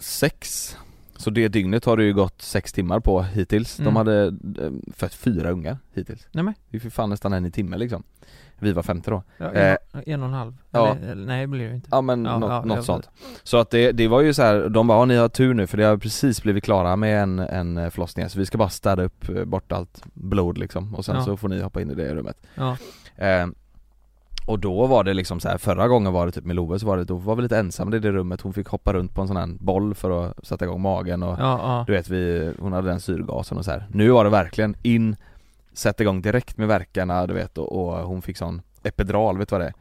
S3: 06 Så det dygnet har det ju gått sex timmar på hittills
S2: Mm.
S3: De hade eh, fött fyra ungar hittills
S2: Nej, men.
S3: Det är för fan nästan en i timmen liksom Vi var femte då
S2: Ja,
S3: eh,
S2: en, en och en halv?
S3: ja.
S2: Eller, eller, nej det blir det inte.
S3: Ja men
S2: Ja,
S3: något,
S2: ja, jag-
S3: något sånt Så att det, det var ju så här, de bara "Ja, ni har tur nu för det har precis blivit klara med en, en eh, förlossning Så vi ska bara städa upp eh, bort allt blod liksom och sen
S2: Ja.
S3: så får ni hoppa in i det rummet
S2: Ja.
S3: Eh, och då var det liksom så här, förra gången var det typ med Love så var det, då var vi lite ensamma i det rummet, hon fick hoppa runt på en sån här boll för att sätta igång magen och
S2: Ja,
S3: du vet vi, hon hade den syrgasen och så här. Nu var det verkligen in, sätta igång direkt med verkarna du vet och, och hon fick sån epidural, vet du vad det är?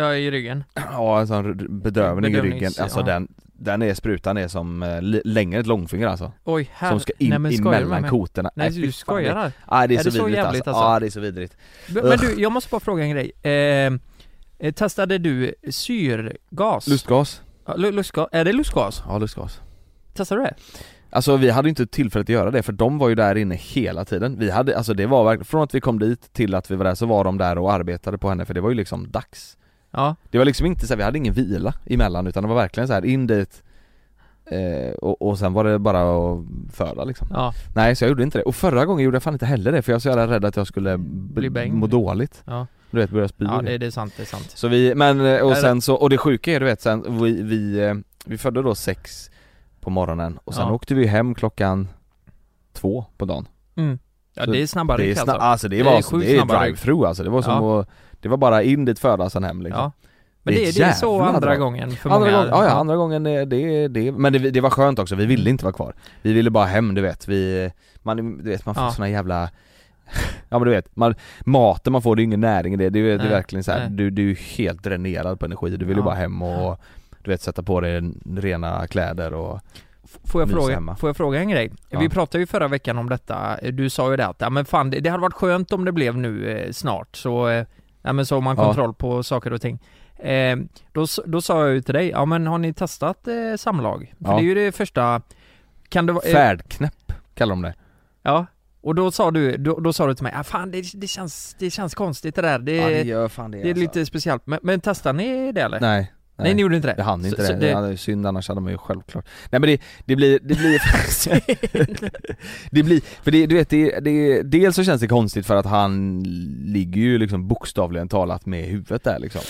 S2: ja. ja, i ryggen.
S3: Ja en sån r- bedövning i
S2: Bedövnings-
S3: ryggen, alltså
S2: ja.
S3: den, den är, sprutan är som eh, li- längre än ett långfinger alltså
S2: Oj, här.
S3: Som ska in,
S2: nej, men
S3: in
S2: skojar du med
S3: mellan
S2: mig?
S3: kotorna
S2: Nej,
S3: fy
S2: du
S3: fan,
S2: skojar
S3: det-
S2: här.
S3: Nej det är,
S2: Är
S3: så
S2: det så
S3: vidrigt
S2: jävligt
S3: alltså.
S2: alltså?
S3: Ja det är så vidrigt
S2: Men men du, jag måste bara fråga en grej. Eh, eh, testade du syrgas?
S3: Lustgas?
S2: Ja, lu- lustgas? Är det lustgas?
S3: Ja lustgas
S2: Testade du det?
S3: Alltså vi hade ju inte tillfälle att göra det för de var ju där inne hela tiden. Vi hade, alltså det var verkligen, från att vi kom dit till att vi var där så var de där och arbetade på henne för det var ju liksom dags.
S2: Ja.
S3: Det var liksom inte så här, vi hade ingen vila emellan utan det var verkligen så här in dit eh, och, och sen var det bara att föda liksom.
S2: Ja.
S3: Nej så jag gjorde inte det. Och förra gången gjorde jag fan inte heller det för jag var så jävla rädd att jag skulle
S2: Bli
S3: bli
S2: bäng.
S3: må dåligt.
S2: Ja.
S3: Du vet börja spy
S2: Ja,
S3: och grejer.
S2: det, det är sant, det är sant.
S3: Så vi, men eh,
S2: Är
S3: och
S2: det-
S3: sen så, och det sjuka är du vet sen, vi, vi, eh, vi födde då sex på morgonen och sen
S2: Ja.
S3: åkte vi hem klockan två på dagen
S2: Mm. Ja,
S3: Så
S2: det är snabba
S3: Det är
S2: ryck
S3: snabbt,
S2: alltså.
S3: alltså det
S2: Det
S3: var,
S2: är
S3: det är,
S2: sjukt
S3: det är
S2: snabba ryck.
S3: drive-through alltså, det var som att, det var bara in dit föda sen hem liksom
S2: Ja. Men
S3: Det är
S2: det, är- det är så
S3: jävla
S2: andra
S3: drag.
S2: gången för
S3: Andra
S2: många.
S3: gången, ja, ja andra gången, eh, det, det, men det, det var skönt också, vi
S2: Mm.
S3: ville inte vara kvar Vi ville bara hem du vet, vi, man, du vet man får
S2: Ja.
S3: såna jävla Ja men du vet, man, maten man får, det är ingen näring i det, det, är- det
S2: Nej,
S3: är verkligen så här,
S2: nej.
S3: du, du är helt dränerad på energi, du vill ju
S2: Ja.
S3: bara hem och du vet sätta på dig rena kläder och
S2: F- Får jag,
S3: Mysa
S2: fråga,
S3: hemma.
S2: får jag fråga en grej?
S3: Ja.
S2: Vi pratade ju förra veckan om detta, du sa ju det att ja, men fan, det, det hade varit skönt om det blev nu eh, snart så, eh, ja, men så har man
S3: Ja.
S2: kontroll på saker och ting. Eh, då, s- då sa jag ju till dig, ja men har ni testat eh, samlag? För
S3: Ja.
S2: det är ju det första, kan det vara... eh,
S3: färdknäpp kallar de det
S2: Ja, och då sa du, då, då sa du till mig, ja, fan det, det, känns, det känns konstigt det där, det,
S3: Ja,
S2: Eh, det,
S3: gör fan det,
S2: är
S3: alltså.
S2: lite speciellt. Men, men testar ni det eller?
S3: Nej, nej,
S2: Nej, ni gjorde inte det?
S3: Jag hann inte
S2: så,
S3: det,
S2: Så
S3: Ja, det är synd annars hade man ju självklart Nej men det, det blir, det blir Det blir, för det, du vet det, det, dels så känns det konstigt för att han ligger ju liksom bokstavligen talat med huvudet där liksom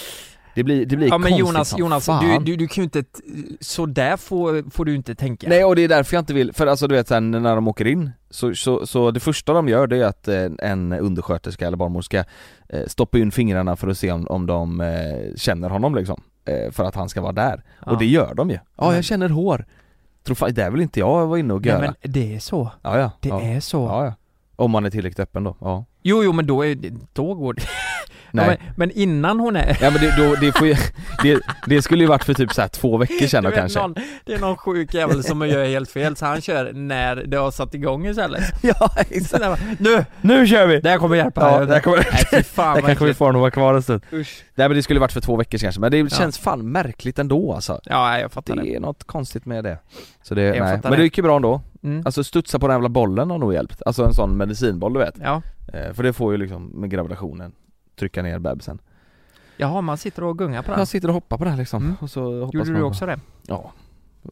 S3: Det blir, det blir
S2: Ja men
S3: konstigt
S2: Jonas,
S3: som
S2: Jonas du,
S3: fan.
S2: du, du kan ju inte, t- sådär får, får du inte tänka.
S3: Nej och det är därför jag inte vill, för alltså du vet sen när de åker in så, så, så det första de gör det är att eh, en undersköterska eller barnmorska eh, stoppar in fingrarna för att se om, om de eh, känner honom liksom. Eh, för att han ska vara där.
S2: Ja.
S3: Och det gör de ju. Ja
S2: Men-
S3: jag känner hår. Tror fan, det där vill inte jag vara inne och
S2: Nej
S3: göra.
S2: men det är så,
S3: ja ja.
S2: det
S3: ja.
S2: är så.
S3: Ja, ja. Om man är tillräckligt öppen då, ja.
S2: Jo jo men då, är, då går det.
S3: Nej.
S2: Ja, men, men innan hon är...
S3: Ja men det, då, det, får ju, det, det skulle ju varit för typ så här två veckor sedan
S2: Du
S3: då
S2: vet,
S3: kanske.
S2: Någon, det är någon sjuk jävel som gör helt fel så han kör när det har satt igång istället.
S3: Ja
S2: Så
S3: exakt.
S2: där bara, Nu!
S3: Nu kör vi!
S2: Det här kommer hjälpa.
S3: Ja, där kommer,
S2: Nej fy fan
S3: där
S2: vad
S3: kanske vi
S2: äckligt.
S3: får honom att vara kvar en stund.
S2: Usch.
S3: Nej men det skulle ju varit för två veckor sedan kanske, men det känns fan märkligt ändå alltså.
S2: Ja nej, jag
S3: Det
S2: fattar det.
S3: är något konstigt med det. Så det,
S2: Jag
S3: nej.
S2: fattar
S3: Men det
S2: det.
S3: gick ju bra ändå.
S2: Mm.
S3: Alltså studsa på den jävla bollen har nog hjälpt. Alltså en sån medicinboll du vet.
S2: Ja.
S3: Eh, För det får ju liksom med gravitationen trycka ner bebisen.
S2: Jaha man sitter och gungar på den.
S3: Man sitter och hoppar på den liksom.
S2: Mm.
S3: Och så hoppas
S2: Gjorde
S3: man
S2: du också det?
S3: Ja.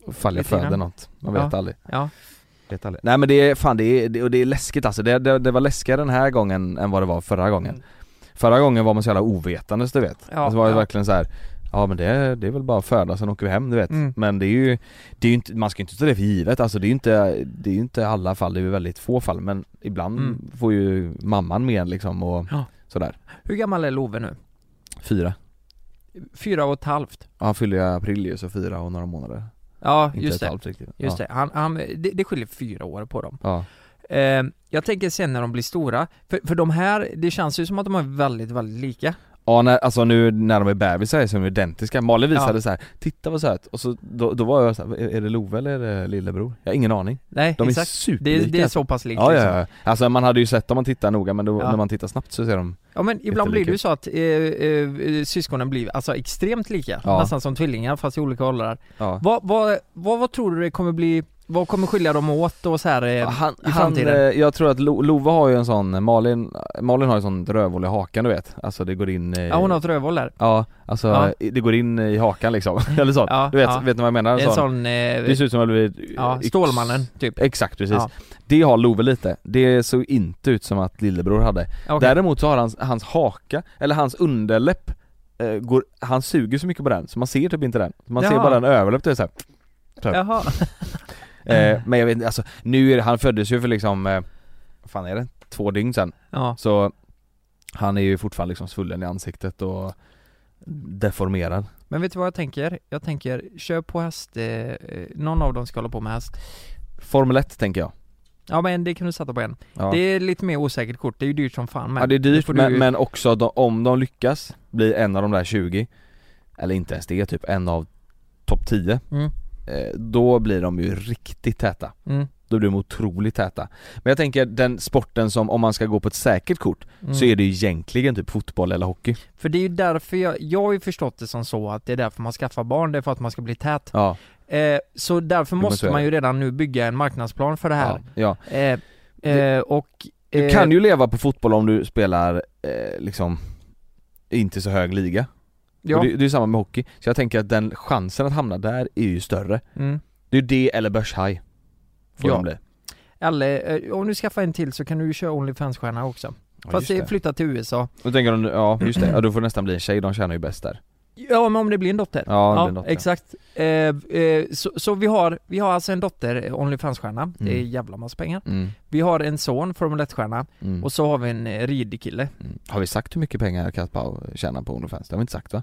S3: Fall jag
S2: Lite grann.
S3: föder något. Man vet
S2: Ja.
S3: aldrig.
S2: Ja.
S3: Vet aldrig. Nej men det är fan det är, det, och det är läskigt alltså. Det, det, det var läskigare den här gången än vad det var förra gången.
S2: Mm.
S3: Förra gången var man så jävla ovetandes du vet.
S2: Ja,
S3: alltså var det
S2: ja.
S3: verkligen så här. Ja men det, det är väl bara att föda sen åker vi hem du vet.
S2: Mm.
S3: Men det är ju, det är ju inte, man ska ju inte ta det för givet alltså det är ju inte, det är ju inte alla fall, det är ju väldigt få fall men ibland
S2: Mm.
S3: får ju mamman med liksom och
S2: Ja.
S3: sådär.
S2: Hur gammal är Love nu?
S3: Fyra.
S2: Fyra och ett halvt.
S3: Ja, han fyller ju april ju så fyra och några månader.
S2: Ja
S3: Inte
S2: just
S3: ett
S2: det.
S3: halvt riktigt.
S2: Just
S3: ja.
S2: det. Han, han, det. Det skiljer fyra år på dem.
S3: Ja.
S2: Eh, jag tänker sen när de blir stora, för, för de här, det känns ju som att de är väldigt, väldigt lika.
S3: Ja när, alltså nu när de är bebisar så är de identiska, Malin visade
S2: Ja.
S3: så här, 'Titta vad söt' och så då, då var jag så här, är är det Love eller är det lillebror? Jag har ingen aning
S2: Nej,
S3: De är
S2: exakt.
S3: superlika
S2: Det, det är så pass likt
S3: ja,
S2: liksom.
S3: ja, ja, alltså man hade ju sett om man tittar noga men då,
S2: Ja.
S3: när man tittar snabbt så ser de
S2: Ja men ibland blir
S3: Jättelika.
S2: det ju så att eh, eh, syskonen blir alltså extremt lika,
S3: Ja.
S2: nästan som tvillingar fast i olika åldrar.
S3: ja.
S2: Vad, vad, vad, vad tror du det kommer bli, vad kommer skilja dem åt och så här? Eh,
S3: Han,
S2: i
S3: han, eh,
S2: framtiden.
S3: jag tror att Lo- Love har ju en sån, Malin, Malin har ju en sån rövhål i hakan du vet, alltså det går in i,
S2: ja hon har ett rövhål där.
S3: ja alltså
S2: Ja.
S3: det går in i hakan liksom, eller sånt,
S2: Ja,
S3: du vet,
S2: ja.
S3: vet ni vad jag menar?
S2: Det är en
S3: Sån-
S2: sån,
S3: det
S2: eh,
S3: ser ut som att du
S2: ja, Stålmannen typ.
S3: Exakt precis,
S2: Ja.
S3: det har Love lite, det såg inte ut som att lillebror hade
S2: Okej.
S3: Däremot så har hans, hans haka, eller hans underläpp eh, går, Han suger så mycket på den så man ser typ inte den Man ser
S2: Jaha.
S3: bara en överläpp typ så där.
S2: Jaha.
S3: här.
S2: Mm.
S3: Eh, Men jag vet inte, alltså nu är det, han föddes ju för liksom eh, vad fan är det? Två dygn sedan
S2: Ja.
S3: Så han är ju fortfarande liksom svullen i ansiktet och deformerad
S2: Men vet du vad jag tänker? Jag tänker, kör på häst, eh, eh, någon av dem ska hålla på med häst.
S3: Formel 1 tänker jag
S2: Ja men det kan du sätta på en.
S3: Ja,
S2: Det är lite mer osäkert kort, det är ju dyrt som fan men.
S3: ja det är
S2: det
S3: dyrt
S2: får
S3: men,
S2: du-
S3: men också att de, om de lyckas bli en av de där 20 Eller inte ens det, typ en av topp 10
S2: Mm.
S3: eh, Då blir de ju riktigt täta
S2: Mm,
S3: Då blir de otroligt täta. Men jag tänker den sporten som, om man ska gå på ett säkert kort,
S2: mm.
S3: så är det ju egentligen typ fotboll eller hockey.
S2: För det är ju därför jag, jag har ju förstått det som så att det är därför man skaffar barn, det är för att man ska bli tät.
S3: Ja,
S2: Eh, så därför
S3: men så
S2: måste
S3: är
S2: man
S3: det.
S2: ju redan nu bygga en marknadsplan för det
S3: ja,
S2: här.
S3: ja.
S2: Eh, eh, och...
S3: Du kan ju leva på fotboll om du spelar eh, liksom inte så hög liga.
S2: Ja,
S3: Och det, det är ju samma med hockey. Så jag tänker att den chansen att hamna där är ju större.
S2: mm.
S3: Det är ju det eller börshaj. Får
S2: Ja.
S3: de bli.
S2: Eller, eh, om du skaffar en till så kan du ju köra Onlyfans-stjärna också.
S3: Ja,
S2: Fast
S3: just
S2: det
S3: det.
S2: flytta till USA.
S3: Då tänker de, ja just det, ja, då får det nästan bli en tjej, de tjänar ju bäst där.
S2: Ja, men om det blir en dotter.
S3: Ja, det blir något där.
S2: exakt. Eh, eh, så så vi, har, vi har alltså en dotter, eh, Onlyfans-stjärna. Det är
S3: Mm.
S2: jävla massa pengar.
S3: Mm,
S2: Vi har en son, Formel 1-stjärna.
S3: mm,
S2: Och så har vi en eh, ridkille.
S3: mm. Har vi sagt hur mycket pengar Kaspar tjänar på Onlyfans? Det har vi inte sagt va?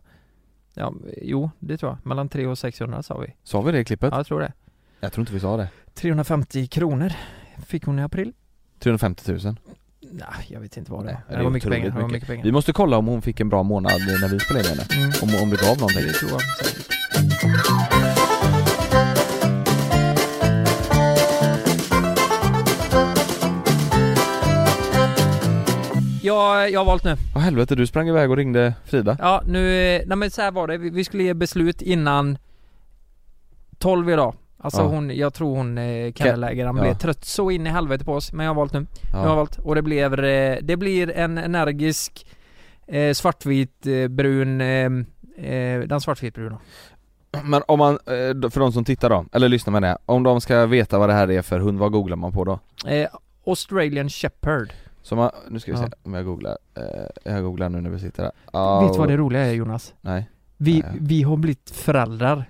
S2: Ja, eh, jo, det tror jag. Mellan 300 och 600 sa vi.
S3: Sa vi det i klippet?
S2: Ja, jag tror det.
S3: Jag tror inte vi sa det.
S2: 350 kronor fick hon i april.
S3: 350 000
S2: Nej, jag vet inte vad det
S3: Nej,
S2: var.
S3: det
S2: Det,
S3: är
S2: var mycket
S3: otroligt
S2: pengar. Det var
S3: mycket.
S2: mycket pengar.
S3: Vi måste kolla om hon fick en bra månad när vi spelade in henne.
S2: Mm,
S3: Om, om det gav någonting.
S2: det tror jag säkert. Ja, jag har valt nu.
S3: Åh helvete, du sprang iväg och ringde Frida.
S2: Ja, nu, eh, nej men så här var det. Vi, vi skulle ge beslut innan 12 idag. Alltså
S3: Ja.
S2: hon, jag tror hon, eh, karalägaren
S3: Ja.
S2: blev trött så in i helvete på oss. Men jag har valt nu. Nu har jag
S3: Ja.
S2: valt. Och det blir, eh, det blir en energisk eh, svartvit eh, brun eh, eh, den svartvitbruna.
S3: Men om man, eh, för de som tittar då, eller lyssnar med det, om de ska veta vad det här är för hund, vad googlar man på då?
S2: Eh, Australian Shepherd.
S3: Så man, nu ska vi se
S2: Ja.
S3: om jag googlar, eh, jag googlar nu när vi sitter här.
S2: Vet du vad det roliga är Jonas?
S3: Nej.
S2: Vi,
S3: Nej.
S2: vi har blivit föräldrar.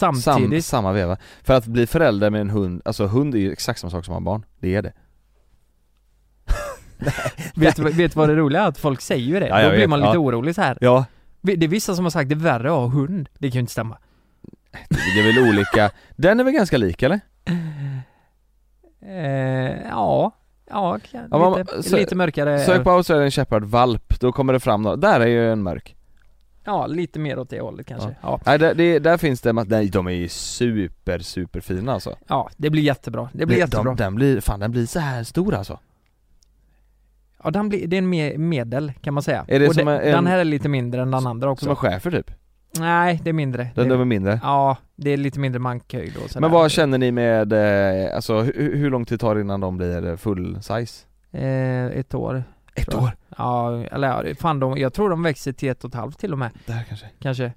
S3: Sam,
S2: Samtidigt.
S3: samma veva. För att bli förälder med en hund, alltså hund är ju exakt samma sak som att ha barn. Det är det.
S2: vet, du- vet du vad det roliga är? Att folk säger ju det.
S3: Ja, jag
S2: Då blir
S3: vet.
S2: man lite
S3: Ja.
S2: orolig så här.
S3: Ja,
S2: Vi- Det är vissa som har sagt det är värre att ha hund. Det kan ju inte stämma.
S3: det är väl olika. Den är väl ganska lik eller?
S2: Eh, ja. Ja, kan,
S3: Ja, men-
S2: lite,
S3: sö-
S2: lite mörkare.
S3: Sök på Australian Shepherd valp, då kommer det fram några. Där är ju en mörk.
S2: Ja, lite mer åt det hållet kanske. Ja. Ja.
S3: Nej, där, det, där finns det, ma- nej de är ju super, super fina alltså.
S2: det blir jättebra. Det blir
S3: de,
S2: jättebra.
S3: Den blir, fan den blir så här stor alltså.
S2: Ja, den blir, det är en me- medel kan man säga.
S3: Är det
S2: Och
S3: som
S2: den-
S3: en-
S2: den här är lite mindre än den andra också.
S3: Som en schäfer typ.
S2: Nej, det är mindre.
S3: Den
S2: det,
S3: är väl mindre.
S2: Ja, det är lite mindre mankhöjd och sådär.
S3: Men vad känner ni med, eh, alltså hur, hur lång tid tar det innan de blir eh, full size?
S2: eh, Ett år.
S3: Ett
S2: tror jag. Ja, eller ja, fan de, jag tror de växer till ett och ett halvt till och med.
S3: Där kanske.
S2: Kanske.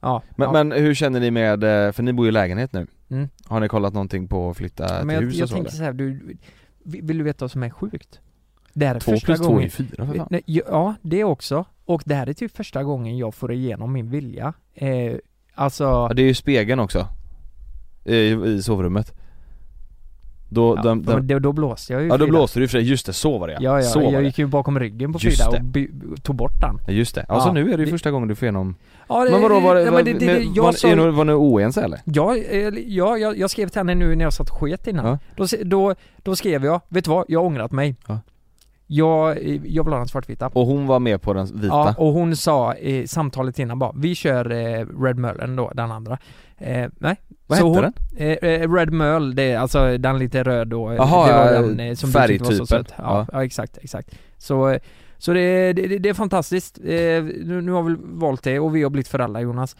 S2: Ja.
S3: Men,
S2: ja.
S3: men hur känner ni med, eh, för ni bor ju i lägenhet nu.
S2: Mm.
S3: Har ni kollat någonting på att flytta
S2: Men
S3: till
S2: jag,
S3: hus
S2: jag
S3: och så
S2: tänker
S3: eller?
S2: så här, du, vill vill du veta vad som är sjukt? Det här är
S3: Två
S2: första
S3: plus två är
S2: gången.
S3: ju fyra för fan.
S2: Nej, Ja, det också. Och det här är typ första gången jag får igenom min vilja. Eh, alltså,
S3: Ja, det är ju spegeln också. I, i sovrummet. Då,
S2: ja,
S3: den, den,
S2: men då, då blåste jag ju
S3: ja då
S2: Frida.
S3: blåste du ju för sig, just det, så var det
S2: Ja, ja,
S3: Så var
S2: jag
S3: det.
S2: gick ju bakom ryggen på
S3: Just
S2: Frida
S3: det.
S2: och by, tog bort den.
S3: Ja, Just det, alltså
S2: Ja,
S3: nu är det ju
S2: det-
S3: första gången du får igenom
S2: Ja, det,
S3: Men vadå, var, det,
S2: ja,
S3: var,
S2: men det, det, det,
S3: men
S2: jag
S3: var,
S2: sa-
S3: är ni- var ni oense eller?
S2: Ja, eh, ja, jag, jag skrev till henne nu när jag satt och sket innan.
S3: Ja.
S2: Då, se- då, då skrev jag, vet du vad? Jag har ångrat mig.
S3: Ja.
S2: Jag, eh, jag vill ha den svartvita.
S3: Och hon var med på den vita?
S2: Ja, och hon sa i samtalet innan bara, vi kör eh, Red Merlin då, den andra. Eh, nej.
S3: Vad
S2: så
S3: hette
S2: hon,
S3: den?
S2: Eh, eh, Red Merl, det är alltså den lite röd och
S3: Jaha,
S2: det var
S3: ja,
S2: den eh, som du tyckte var så
S3: färgtypen.
S2: söt. Ja,
S3: Ja.
S2: ja. exakt, exakt. Så, eh, så det, det, det är fantastiskt. Eh, nu, nu har vi valt det och vi har blivit föräldrar Jonas.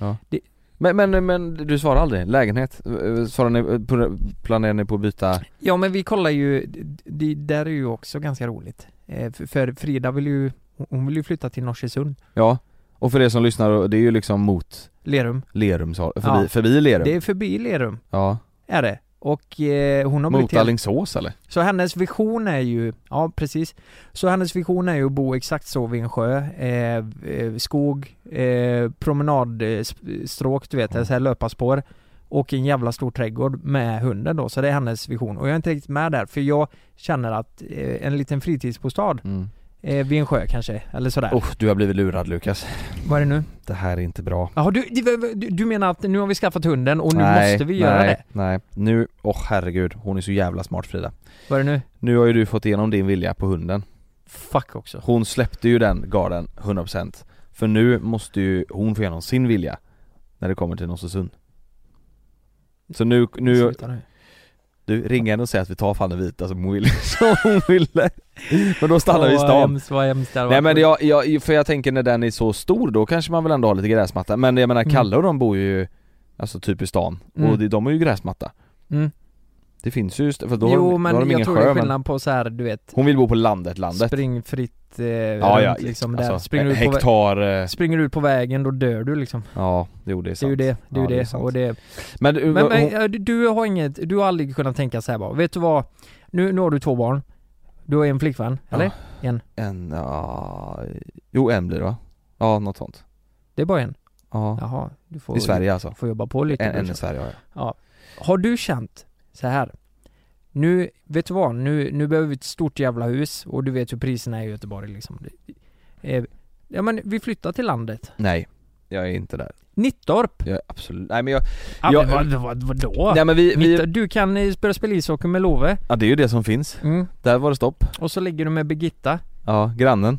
S3: Men, men, men du svarar aldrig, lägenhet? Eh, Svarar ni, eh, på- planerar ni på att byta?
S2: Ja men vi kollar ju, det- det där är ju också ganska roligt. Eh, för, för Frida vill ju, hon vill ju flytta till Norsesund,
S3: Ja, och för er som lyssnar, det är ju liksom mot
S2: Lerum.
S3: Lerum, sa- förbi,
S2: Ja.
S3: förbi Lerum?
S2: Det är förbi Lerum,
S3: Ja,
S2: är det. Och eh, hon har
S3: mot
S2: blivit helt-
S3: Alingsås eller?
S2: Så hennes vision är ju, ja precis. Så hennes vision är ju att bo exakt så vid en sjö, eh, eh, skog, eh, promenadstråk du
S3: Mm.
S2: vet, så här löparspår. Och en jävla stor trädgård med hunden då, så det är hennes vision. Och jag är inte riktigt med där, för jag känner att eh, en liten fritidsbostad
S3: Mm.
S2: eh, vid en sjö kanske, eller sådär.
S3: Oh, du har blivit lurad Lukas,
S2: Vad är det nu?
S3: det här är inte bra
S2: Jaha, du, du, du menar att nu har vi skaffat hunden och nu måste vi göra
S3: nej,
S2: det?
S3: Nej, nu, åh oh, herregud, hon är så jävla smart Frida
S2: Vad är det nu?
S3: Nu har ju du fått igenom din vilja på hunden
S2: Fuck också.
S3: Hon släppte ju den garden 100% För nu måste ju hon få igenom sin vilja När det kommer till Nossesund Så nu, nu,
S2: Sluta nu.
S3: du ring henne och säg att vi tar fan den vita som hon ville, som hon ville. Men då stannar vi i
S2: Åh,
S3: stan
S2: hemskt, vad hemskt det hade
S3: Nej
S2: varit.
S3: men jag, jag, för jag tänker när den är så stor då kanske man vill ändå ha lite gräsmatta Men jag menar
S2: Mm.
S3: Kalle och de bor ju Alltså typ i stan
S2: Mm.
S3: och de, de har ju gräsmatta
S2: Mm.
S3: Det finns ju, för då,
S2: jo
S3: har,
S2: men
S3: då har de
S2: jag
S3: ingen
S2: tror det
S3: sjö
S2: är
S3: men
S2: skillnad på så här, du vet,
S3: Hon vill bo på landet, landet
S2: springfritt eh,
S3: Ja ja,
S2: runt, liksom där.
S3: alltså,
S2: springer, du ut på vä-
S3: hektar, eh,
S2: springer du ut på vägen då dör du liksom.
S3: ja jo det är
S2: Det är
S3: sant
S2: ju det, det är
S3: Ja,
S2: ju
S3: det är
S2: det.
S3: sant.
S2: och det
S3: Men, du,
S2: men, men
S3: hon,
S2: eh, du- du har inget, du har aldrig kunnat tänka så här bara, vet du vad? Nu, nu har du två barn. Du har en flickvän,
S3: Ja.
S2: eller?
S3: en, ja, jo en blir det va? Ja något sånt
S2: Det är bara en.
S3: Ja,
S2: Jaha, du får,
S3: i Sverige alltså
S2: du får jobba på lite.
S3: En,
S2: du
S3: en i
S2: känner.
S3: Sverige ja, ja.
S2: Har du känt så här? Nu, vet du vad? Nu, nu behöver vi ett stort jävla hus och du vet hur priserna är i Göteborg liksom. Eh, Ja men vi flyttar till landet.
S3: Nej, jag är inte där
S2: Nittorp?
S3: Jag är absolut, nej men jag,
S2: Ja,
S3: Ja,
S2: men vad, vad, vadå?
S3: nej men vi, vi
S2: Nittorp, du kan eh, börja spela ishockey med Love.
S3: ja det är ju det som finns Där var det stopp
S2: Och så ligger du med Birgitta.
S3: Ja, grannen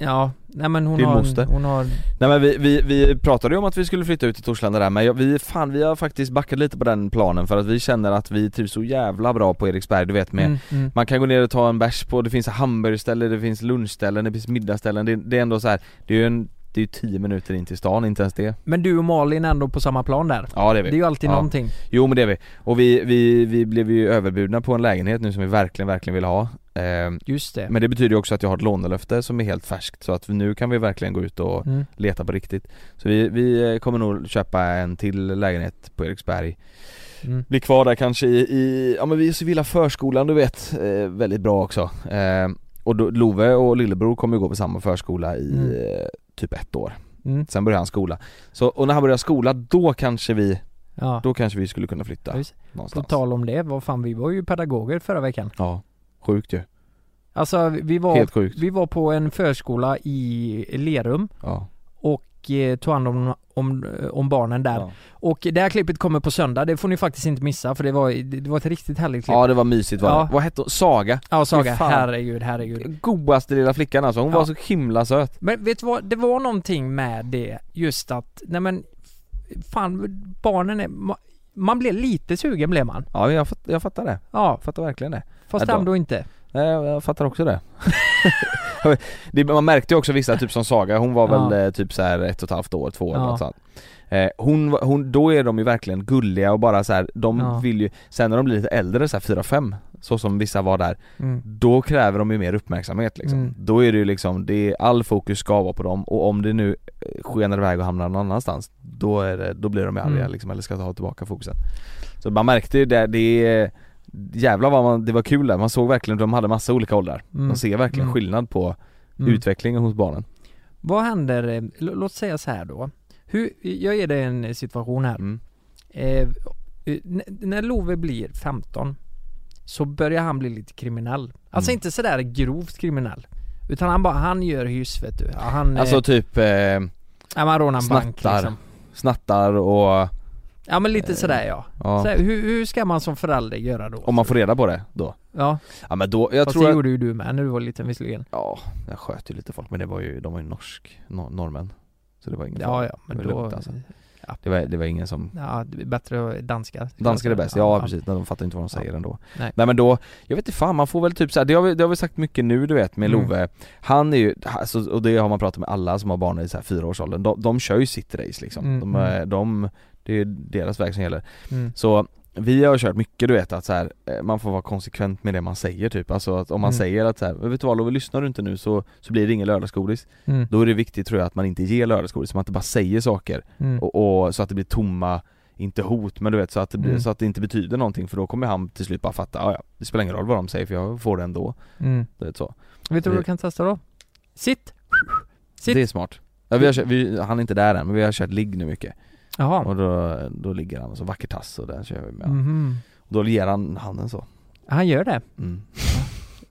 S2: Ja, nej men hon
S3: Din
S2: har, en-
S3: moster.
S2: hon har...
S3: Nej men vi, vi, vi pratade ju om att vi skulle flytta ut till Torslanda där men jag, vi, fan vi har faktiskt backat lite på den planen för att vi känner att vi trivs så jävla bra på Eriksberg du vet med
S2: Mm, mm.
S3: Man kan gå ner och ta en bärs på, det finns hamburgerställen, det finns lunchställen, det finns middagsställen det, det är ändå så här, det är ju en, det är ju 10 minuter in till stan, inte ens det
S2: Men du och Malin är ändå på samma plan där.
S3: Ja det är vi
S2: Det är ju alltid
S3: ja.
S2: någonting.
S3: Jo men det är vi, och vi, vi, vi blev ju överbjudna på en lägenhet nu som vi verkligen, verkligen vill ha eh,
S2: Just det.
S3: Men det betyder ju också att jag har ett lånelöfte som är helt färskt så att nu kan vi verkligen gå ut och
S2: Mm.
S3: leta på riktigt. Så vi, vi eh, kommer nog köpa en till lägenhet på Eriksberg.
S2: Mm.
S3: Bli kvar där kanske i, i ja men vi är civila förskolan du vet, eh, väldigt bra också. Eh, och då, Love och lillebror kommer ju gå på samma förskola i
S2: Mm.
S3: eh, typ ett år.
S2: Mm.
S3: Sen börjar han skola. Så, och när han börjar skola då kanske vi,
S2: Ja.
S3: då kanske vi skulle kunna flytta
S2: Just. På
S3: någonstans.
S2: tal om det, vad fan vi var ju pedagoger förra veckan.
S3: Ja, sjukt ju.
S2: Alltså vi var,
S3: Helt sjukt.
S2: vi var på en förskola i Lerum
S3: Ja.
S2: och eh, tog hand om, om, om barnen där.
S3: Ja.
S2: Och det här klippet kommer på söndag, det får ni faktiskt inte missa för det var, det var ett riktigt härligt klipp.
S3: ja det var mysigt var det.
S2: Ja.
S3: Vad hette hon? Saga?
S2: Ja, Saga,
S3: Fy fan.
S2: herregud, herregud.
S3: Godaste lilla flickan alltså, hon
S2: Ja.
S3: var så himla söt.
S2: Men vet du vad, det var någonting med det just att, nej men fan barnen är, ma- man blev lite sugen blev man.
S3: Ja jag, fatt, jag fattar det,
S2: Ja,
S3: jag fattar verkligen det.
S2: fast
S3: Ja, då.
S2: ändå inte.
S3: Nej, Jag, Eh, jag fattar också det. det. Man märkte ju också vissa, typ som Saga, hon var
S2: Ja.
S3: väl eh, typ så här ett och ett halvt år, två år
S2: Ja.
S3: eller något sånt. Eh, hon, var- hon, då är de ju verkligen gulliga och bara så här, de
S2: Ja.
S3: vill ju, sen när de blir lite äldre så här 4-5, så som vissa var där,
S2: Mm.
S3: då kräver de ju mer uppmärksamhet liksom.
S2: Mm.
S3: Då är det ju liksom, det, all fokus ska vara på dem och om det nu eh, skenar iväg och hamnar någon annanstans Då, är det, då blir de ju arga
S2: Mm.
S3: liksom, eller ska ta tillbaka fokusen Så man märkte ju det, det Jävlar vad man, det var kul där, man såg verkligen, de hade massa olika åldrar
S2: Mm.
S3: Man ser verkligen
S2: Mm.
S3: skillnad på
S2: Mm.
S3: utvecklingen hos barnen
S2: Vad händer, eh, l- låt säga så här då. Hur, jag ger dig en situation här.
S3: mm.
S2: Eh, eh, n- när Love blir 15 så börjar han bli lite kriminell. Alltså
S3: Mm.
S2: inte sådär grovt kriminell. Utan han bara, han gör hyss vet du. Ja, Han,
S3: Alltså
S2: eh,
S3: typ eh,
S2: ja, man rånar en bank
S3: snattar.
S2: liksom.
S3: snattar och,
S2: Ja men
S3: Eh.
S2: lite sådär ja.
S3: ja,
S2: Så här, hur, hur ska man som förälder göra då?
S3: om man får reda på det då
S2: Ja,
S3: Ja men då, jag
S2: fast
S3: tror
S2: det
S3: att,
S2: gjorde ju du med när du var liten visserligen.
S3: ja jag sköt ju lite folk men det var ju, de var ju norsk, no, norrmän Så det var ingen
S2: Ja
S3: fara.
S2: ja, men
S3: Det
S2: då...
S3: var lugnt, alltså. Det var, det var ingen som
S2: Ja, det är bättre att danska.
S3: Danskar är bäst, ja, precis, men de fattar inte vad de säger ändå
S2: Nej.
S3: Nej. men då, jag vet inte fan man får väl typ såhär, det, har vi- det har vi sagt mycket nu du vet med
S2: Mm.
S3: Love Han är ju, alltså, och det har man pratat med alla som har barn i så här fyraårsåldern, de, de kör ju sitt race liksom
S2: Mm,
S3: de,
S2: mm.
S3: eh, de, det är deras väg som gäller
S2: Mm.
S3: Så vi har kört mycket du vet att så här, eh, man får vara konsekvent med det man säger typ Alltså att om man
S2: Mm.
S3: säger att så här, vet du vad Love, lyssnar du inte nu så, så blir det ingen lördagsgodis
S2: Mm.
S3: Då är det viktigt tror jag att man inte ger lördagsgodis, att man inte bara säger saker
S2: Mm.
S3: och, och så att det blir tomma inte hot men du vet så att, det blir,
S2: Mm.
S3: så att det inte betyder någonting för då kommer han till slut bara fatta "Ah, ja, det spelar ingen roll vad de säger för jag får det ändå.
S2: Mm.
S3: Du vet, så.
S2: Vet du vad du
S3: Det-
S2: kan testa då? Sitt! Sitt!
S3: Det är smart. Ja, vi har kört, vi, han är inte där än men vi har kört ligg nu mycket
S2: Jaha.
S3: och då, då ligger han och så vacker tass och den kör vi med mm.
S2: Mhm.
S3: Då ger han handen så.
S2: Han gör det?
S3: Mm.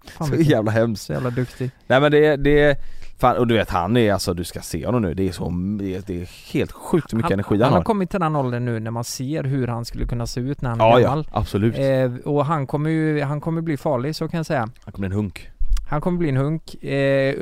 S2: Fan,
S3: så
S2: vilken-
S3: jävla hemskt.
S2: så jävla duktig.
S3: Nej men det, det Fan, och du vet han är alltså, du ska se honom nu, det är så, det är, det är helt sjukt hur mycket energi han,
S2: han har
S3: har.
S2: kommit till den åldern nu när man ser hur han skulle kunna se ut när han är
S3: Ja ja,
S2: gammal.
S3: absolut.
S2: Eh, och han kommer ju, han kommer bli farlig så kan jag säga.
S3: Han kommer bli en hunk.
S2: Han kommer bli en hunk. Eh,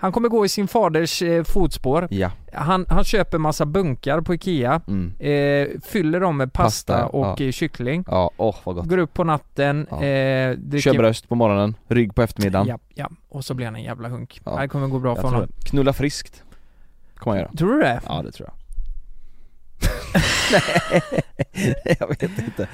S2: han kommer gå i sin faders eh, fotspår.
S3: Ja.
S2: Han, han köper massa bunkar på Ikea.
S3: Mm.
S2: Eh, fyller dem med pasta,
S3: Pasta,
S2: och eh, kyckling.
S3: Ja, åh vad gott.
S2: Går upp på natten,
S3: Ja.
S2: eh, dricker...
S3: Kör bröst på morgonen, rygg på eftermiddagen.
S2: Ja, ja. Och så blir han en jävla hunk.
S3: Ja.
S2: Det här kommer gå bra
S3: Jag
S2: för
S3: tror
S2: honom.
S3: det. Knulla friskt. Kommer jag göra.
S2: Tror du det?
S3: Ja det tror jag. Nej, jag vet inte.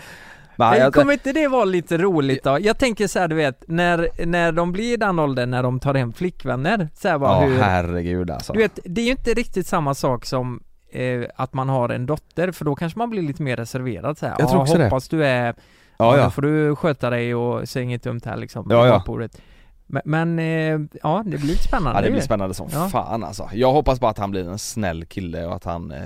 S3: Men
S2: Nej,
S3: jag,
S2: Eh, kommer inte det vara lite roligt då? Jag tänker så här, du vet, när, när de blir i den åldern när de tar hem flickvänner, så här bara
S3: ja
S2: hur...
S3: herregud alltså.
S2: Du vet, det är ju inte riktigt samma sak som eh, att man har en dotter, för då kanske man blir lite mer reserverad så här.
S3: Jag tror
S2: "Ja,
S3: också det.
S2: hoppas du är...
S3: ja,
S2: Då
S3: ja.
S2: får du sköta dig och säg inget dumt här liksom.
S3: Ja, ja.
S2: på bordet." Men, men eh, ja, det blir lite spännande
S3: ja det
S2: ju.
S3: blir spännande som
S2: Ja.
S3: fan alltså. Jag hoppas bara att han blir en snäll kille och att han, eh,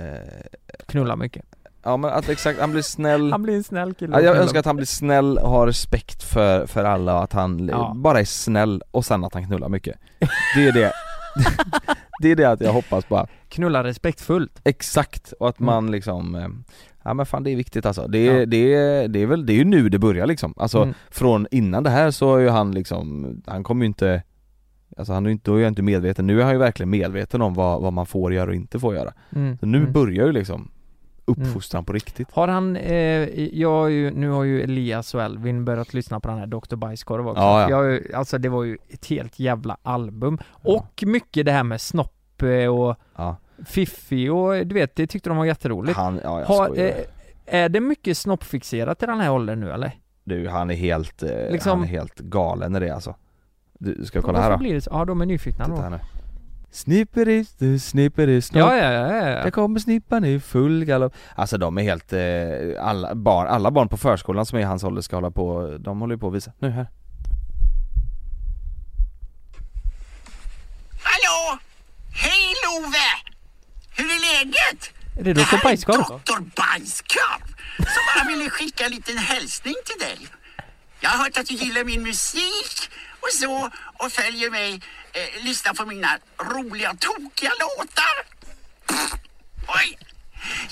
S2: Knulla mycket.
S3: ja men att exakt, han blir snäll.
S2: Han blir en snäll kille.
S3: Ja,
S2: att
S3: jag
S2: knulla.
S3: önskar att han blir snäll och har respekt för, för alla och att han eh,
S2: Ja.
S3: bara är snäll och sen att han knullar mycket. Det är det, det är det att jag hoppas bara.
S2: Knulla respektfullt.
S3: Exakt, och att
S2: Mm.
S3: man liksom eh, Ja men fan det är viktigt alltså. Det är,
S2: Ja.
S3: det är, det är väl, det är ju nu det börjar liksom. Alltså
S2: Mm.
S3: från innan det här så är ju han liksom, han kommer ju inte Alltså han är ju inte, då är jag inte medveten, nu är han ju verkligen medveten om vad, vad man får göra och inte får göra
S2: Mm.
S3: Så nu
S2: Mm.
S3: börjar ju liksom uppfostran på riktigt
S2: Har han, eh, jag har ju, nu har ju Elias och Elvin börjat lyssna på den här Dr. Bajskorv också.
S3: Ja, ja.
S2: Jag, har ju- alltså det var ju ett helt jävla album. Och mycket det här med snopp eh, och
S3: Ja,
S2: fiffi och du vet, det tyckte de var jätteroligt.
S3: han, ja jag
S2: Har,
S3: skojar.
S2: eh, är det mycket snoppfixerat i den här åldern nu eller?
S3: Du han är helt, eh,
S2: Liksom-
S3: han är helt galen i det alltså Du, ska jag kolla här
S2: Varför
S3: då?
S2: blir det så? Ja, de är nyfikna
S3: Titta
S2: då.
S3: här nu Snipperis, du snipperis,
S2: Ja, ja, ja, ja.
S3: Där kommer snippan i full galopp Alltså de är helt, eh, alla barn, alla barn på förskolan som är i hans ålder ska hålla på, de håller ju på att visa, nu här
S5: Hallå! Hej Love! Hur är läget?
S2: Är det Dr. Bajskorv?
S5: Doktor Bajskorv som bara ville skicka en liten hälsning till dig. Jag har hört att du gillar min musik och så och följer mig, eh, lyssnar på mina roliga tokiga låtar. Pff, Oj!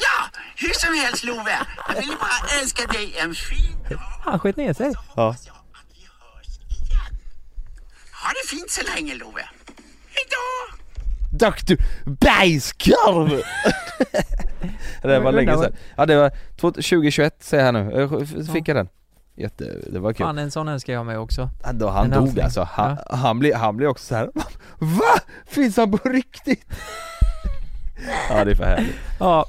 S5: Ja, hur som helst Love, jag vill bara önska dig en fin dag.
S2: Han sköt ner sig.
S5: Hoppas jag att vi hörs igen. Ha det fint så länge Love. Hejdå!
S3: Doktor Bajskorv! det var
S2: Men
S3: länge
S2: den där
S3: sedan. Ja det var två- 2021 säger jag nu, Jag fick jag den Jätte, det var kul.
S2: Fan, en sån önskar jag mig också.
S3: Han, då, han
S2: en
S3: dog
S2: hälsning.
S3: alltså, han, han, blir, han blir också så här. VA? Finns han på riktigt? ja det är för härligt.
S2: Ja.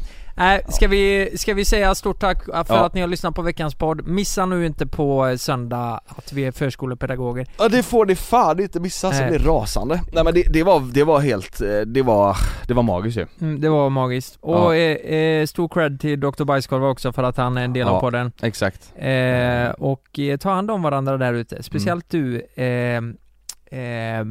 S2: Äh, ska, vi, ska vi säga stort tack äh, för
S3: Ja.
S2: att ni har lyssnat på veckans podd. Missa nu inte på eh, söndag att vi är förskolepedagoger.
S3: Ja det får ni fan inte missa,
S2: Nej.
S3: rasande. Nej men det, det var, det var helt, eh, det var, det var magiskt ju.
S2: Mm, det var magiskt. Och
S3: Ja.
S2: eh, eh, stor cred till Dr. Bajskorv också för att han är en del av
S3: Ja.
S2: podden.
S3: Exakt.
S2: Eh, och eh, ta hand om varandra där ute.
S3: Mm.
S2: Speciellt du, eh, eh,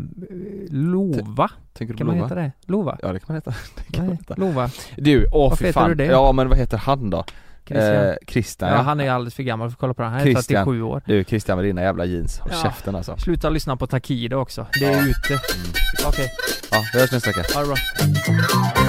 S2: Lova,
S3: Tänker du
S2: kan
S3: på
S2: man
S3: Lova?
S2: heta det? Lova?
S3: Ja det kan man heta. Det kan man
S2: Nej,
S3: heta.
S2: Lova.
S3: Du, åh
S2: Varför
S3: fy
S2: heter
S3: fan.
S2: du det?
S3: Ja men vad heter han då?
S2: Christian.
S3: Eh, Christian
S2: ja, han är ju alldeles för gammal för att kolla på det här. Han är
S3: Christian.
S2: 37 år.
S3: Du Christian med dina jävla jeans, håll
S2: Ja.
S3: käften alltså.
S2: Sluta lyssna på Takida också. Det är ute. Okej,
S3: Ja, vi hörs nästa vecka.
S2: ha det bra.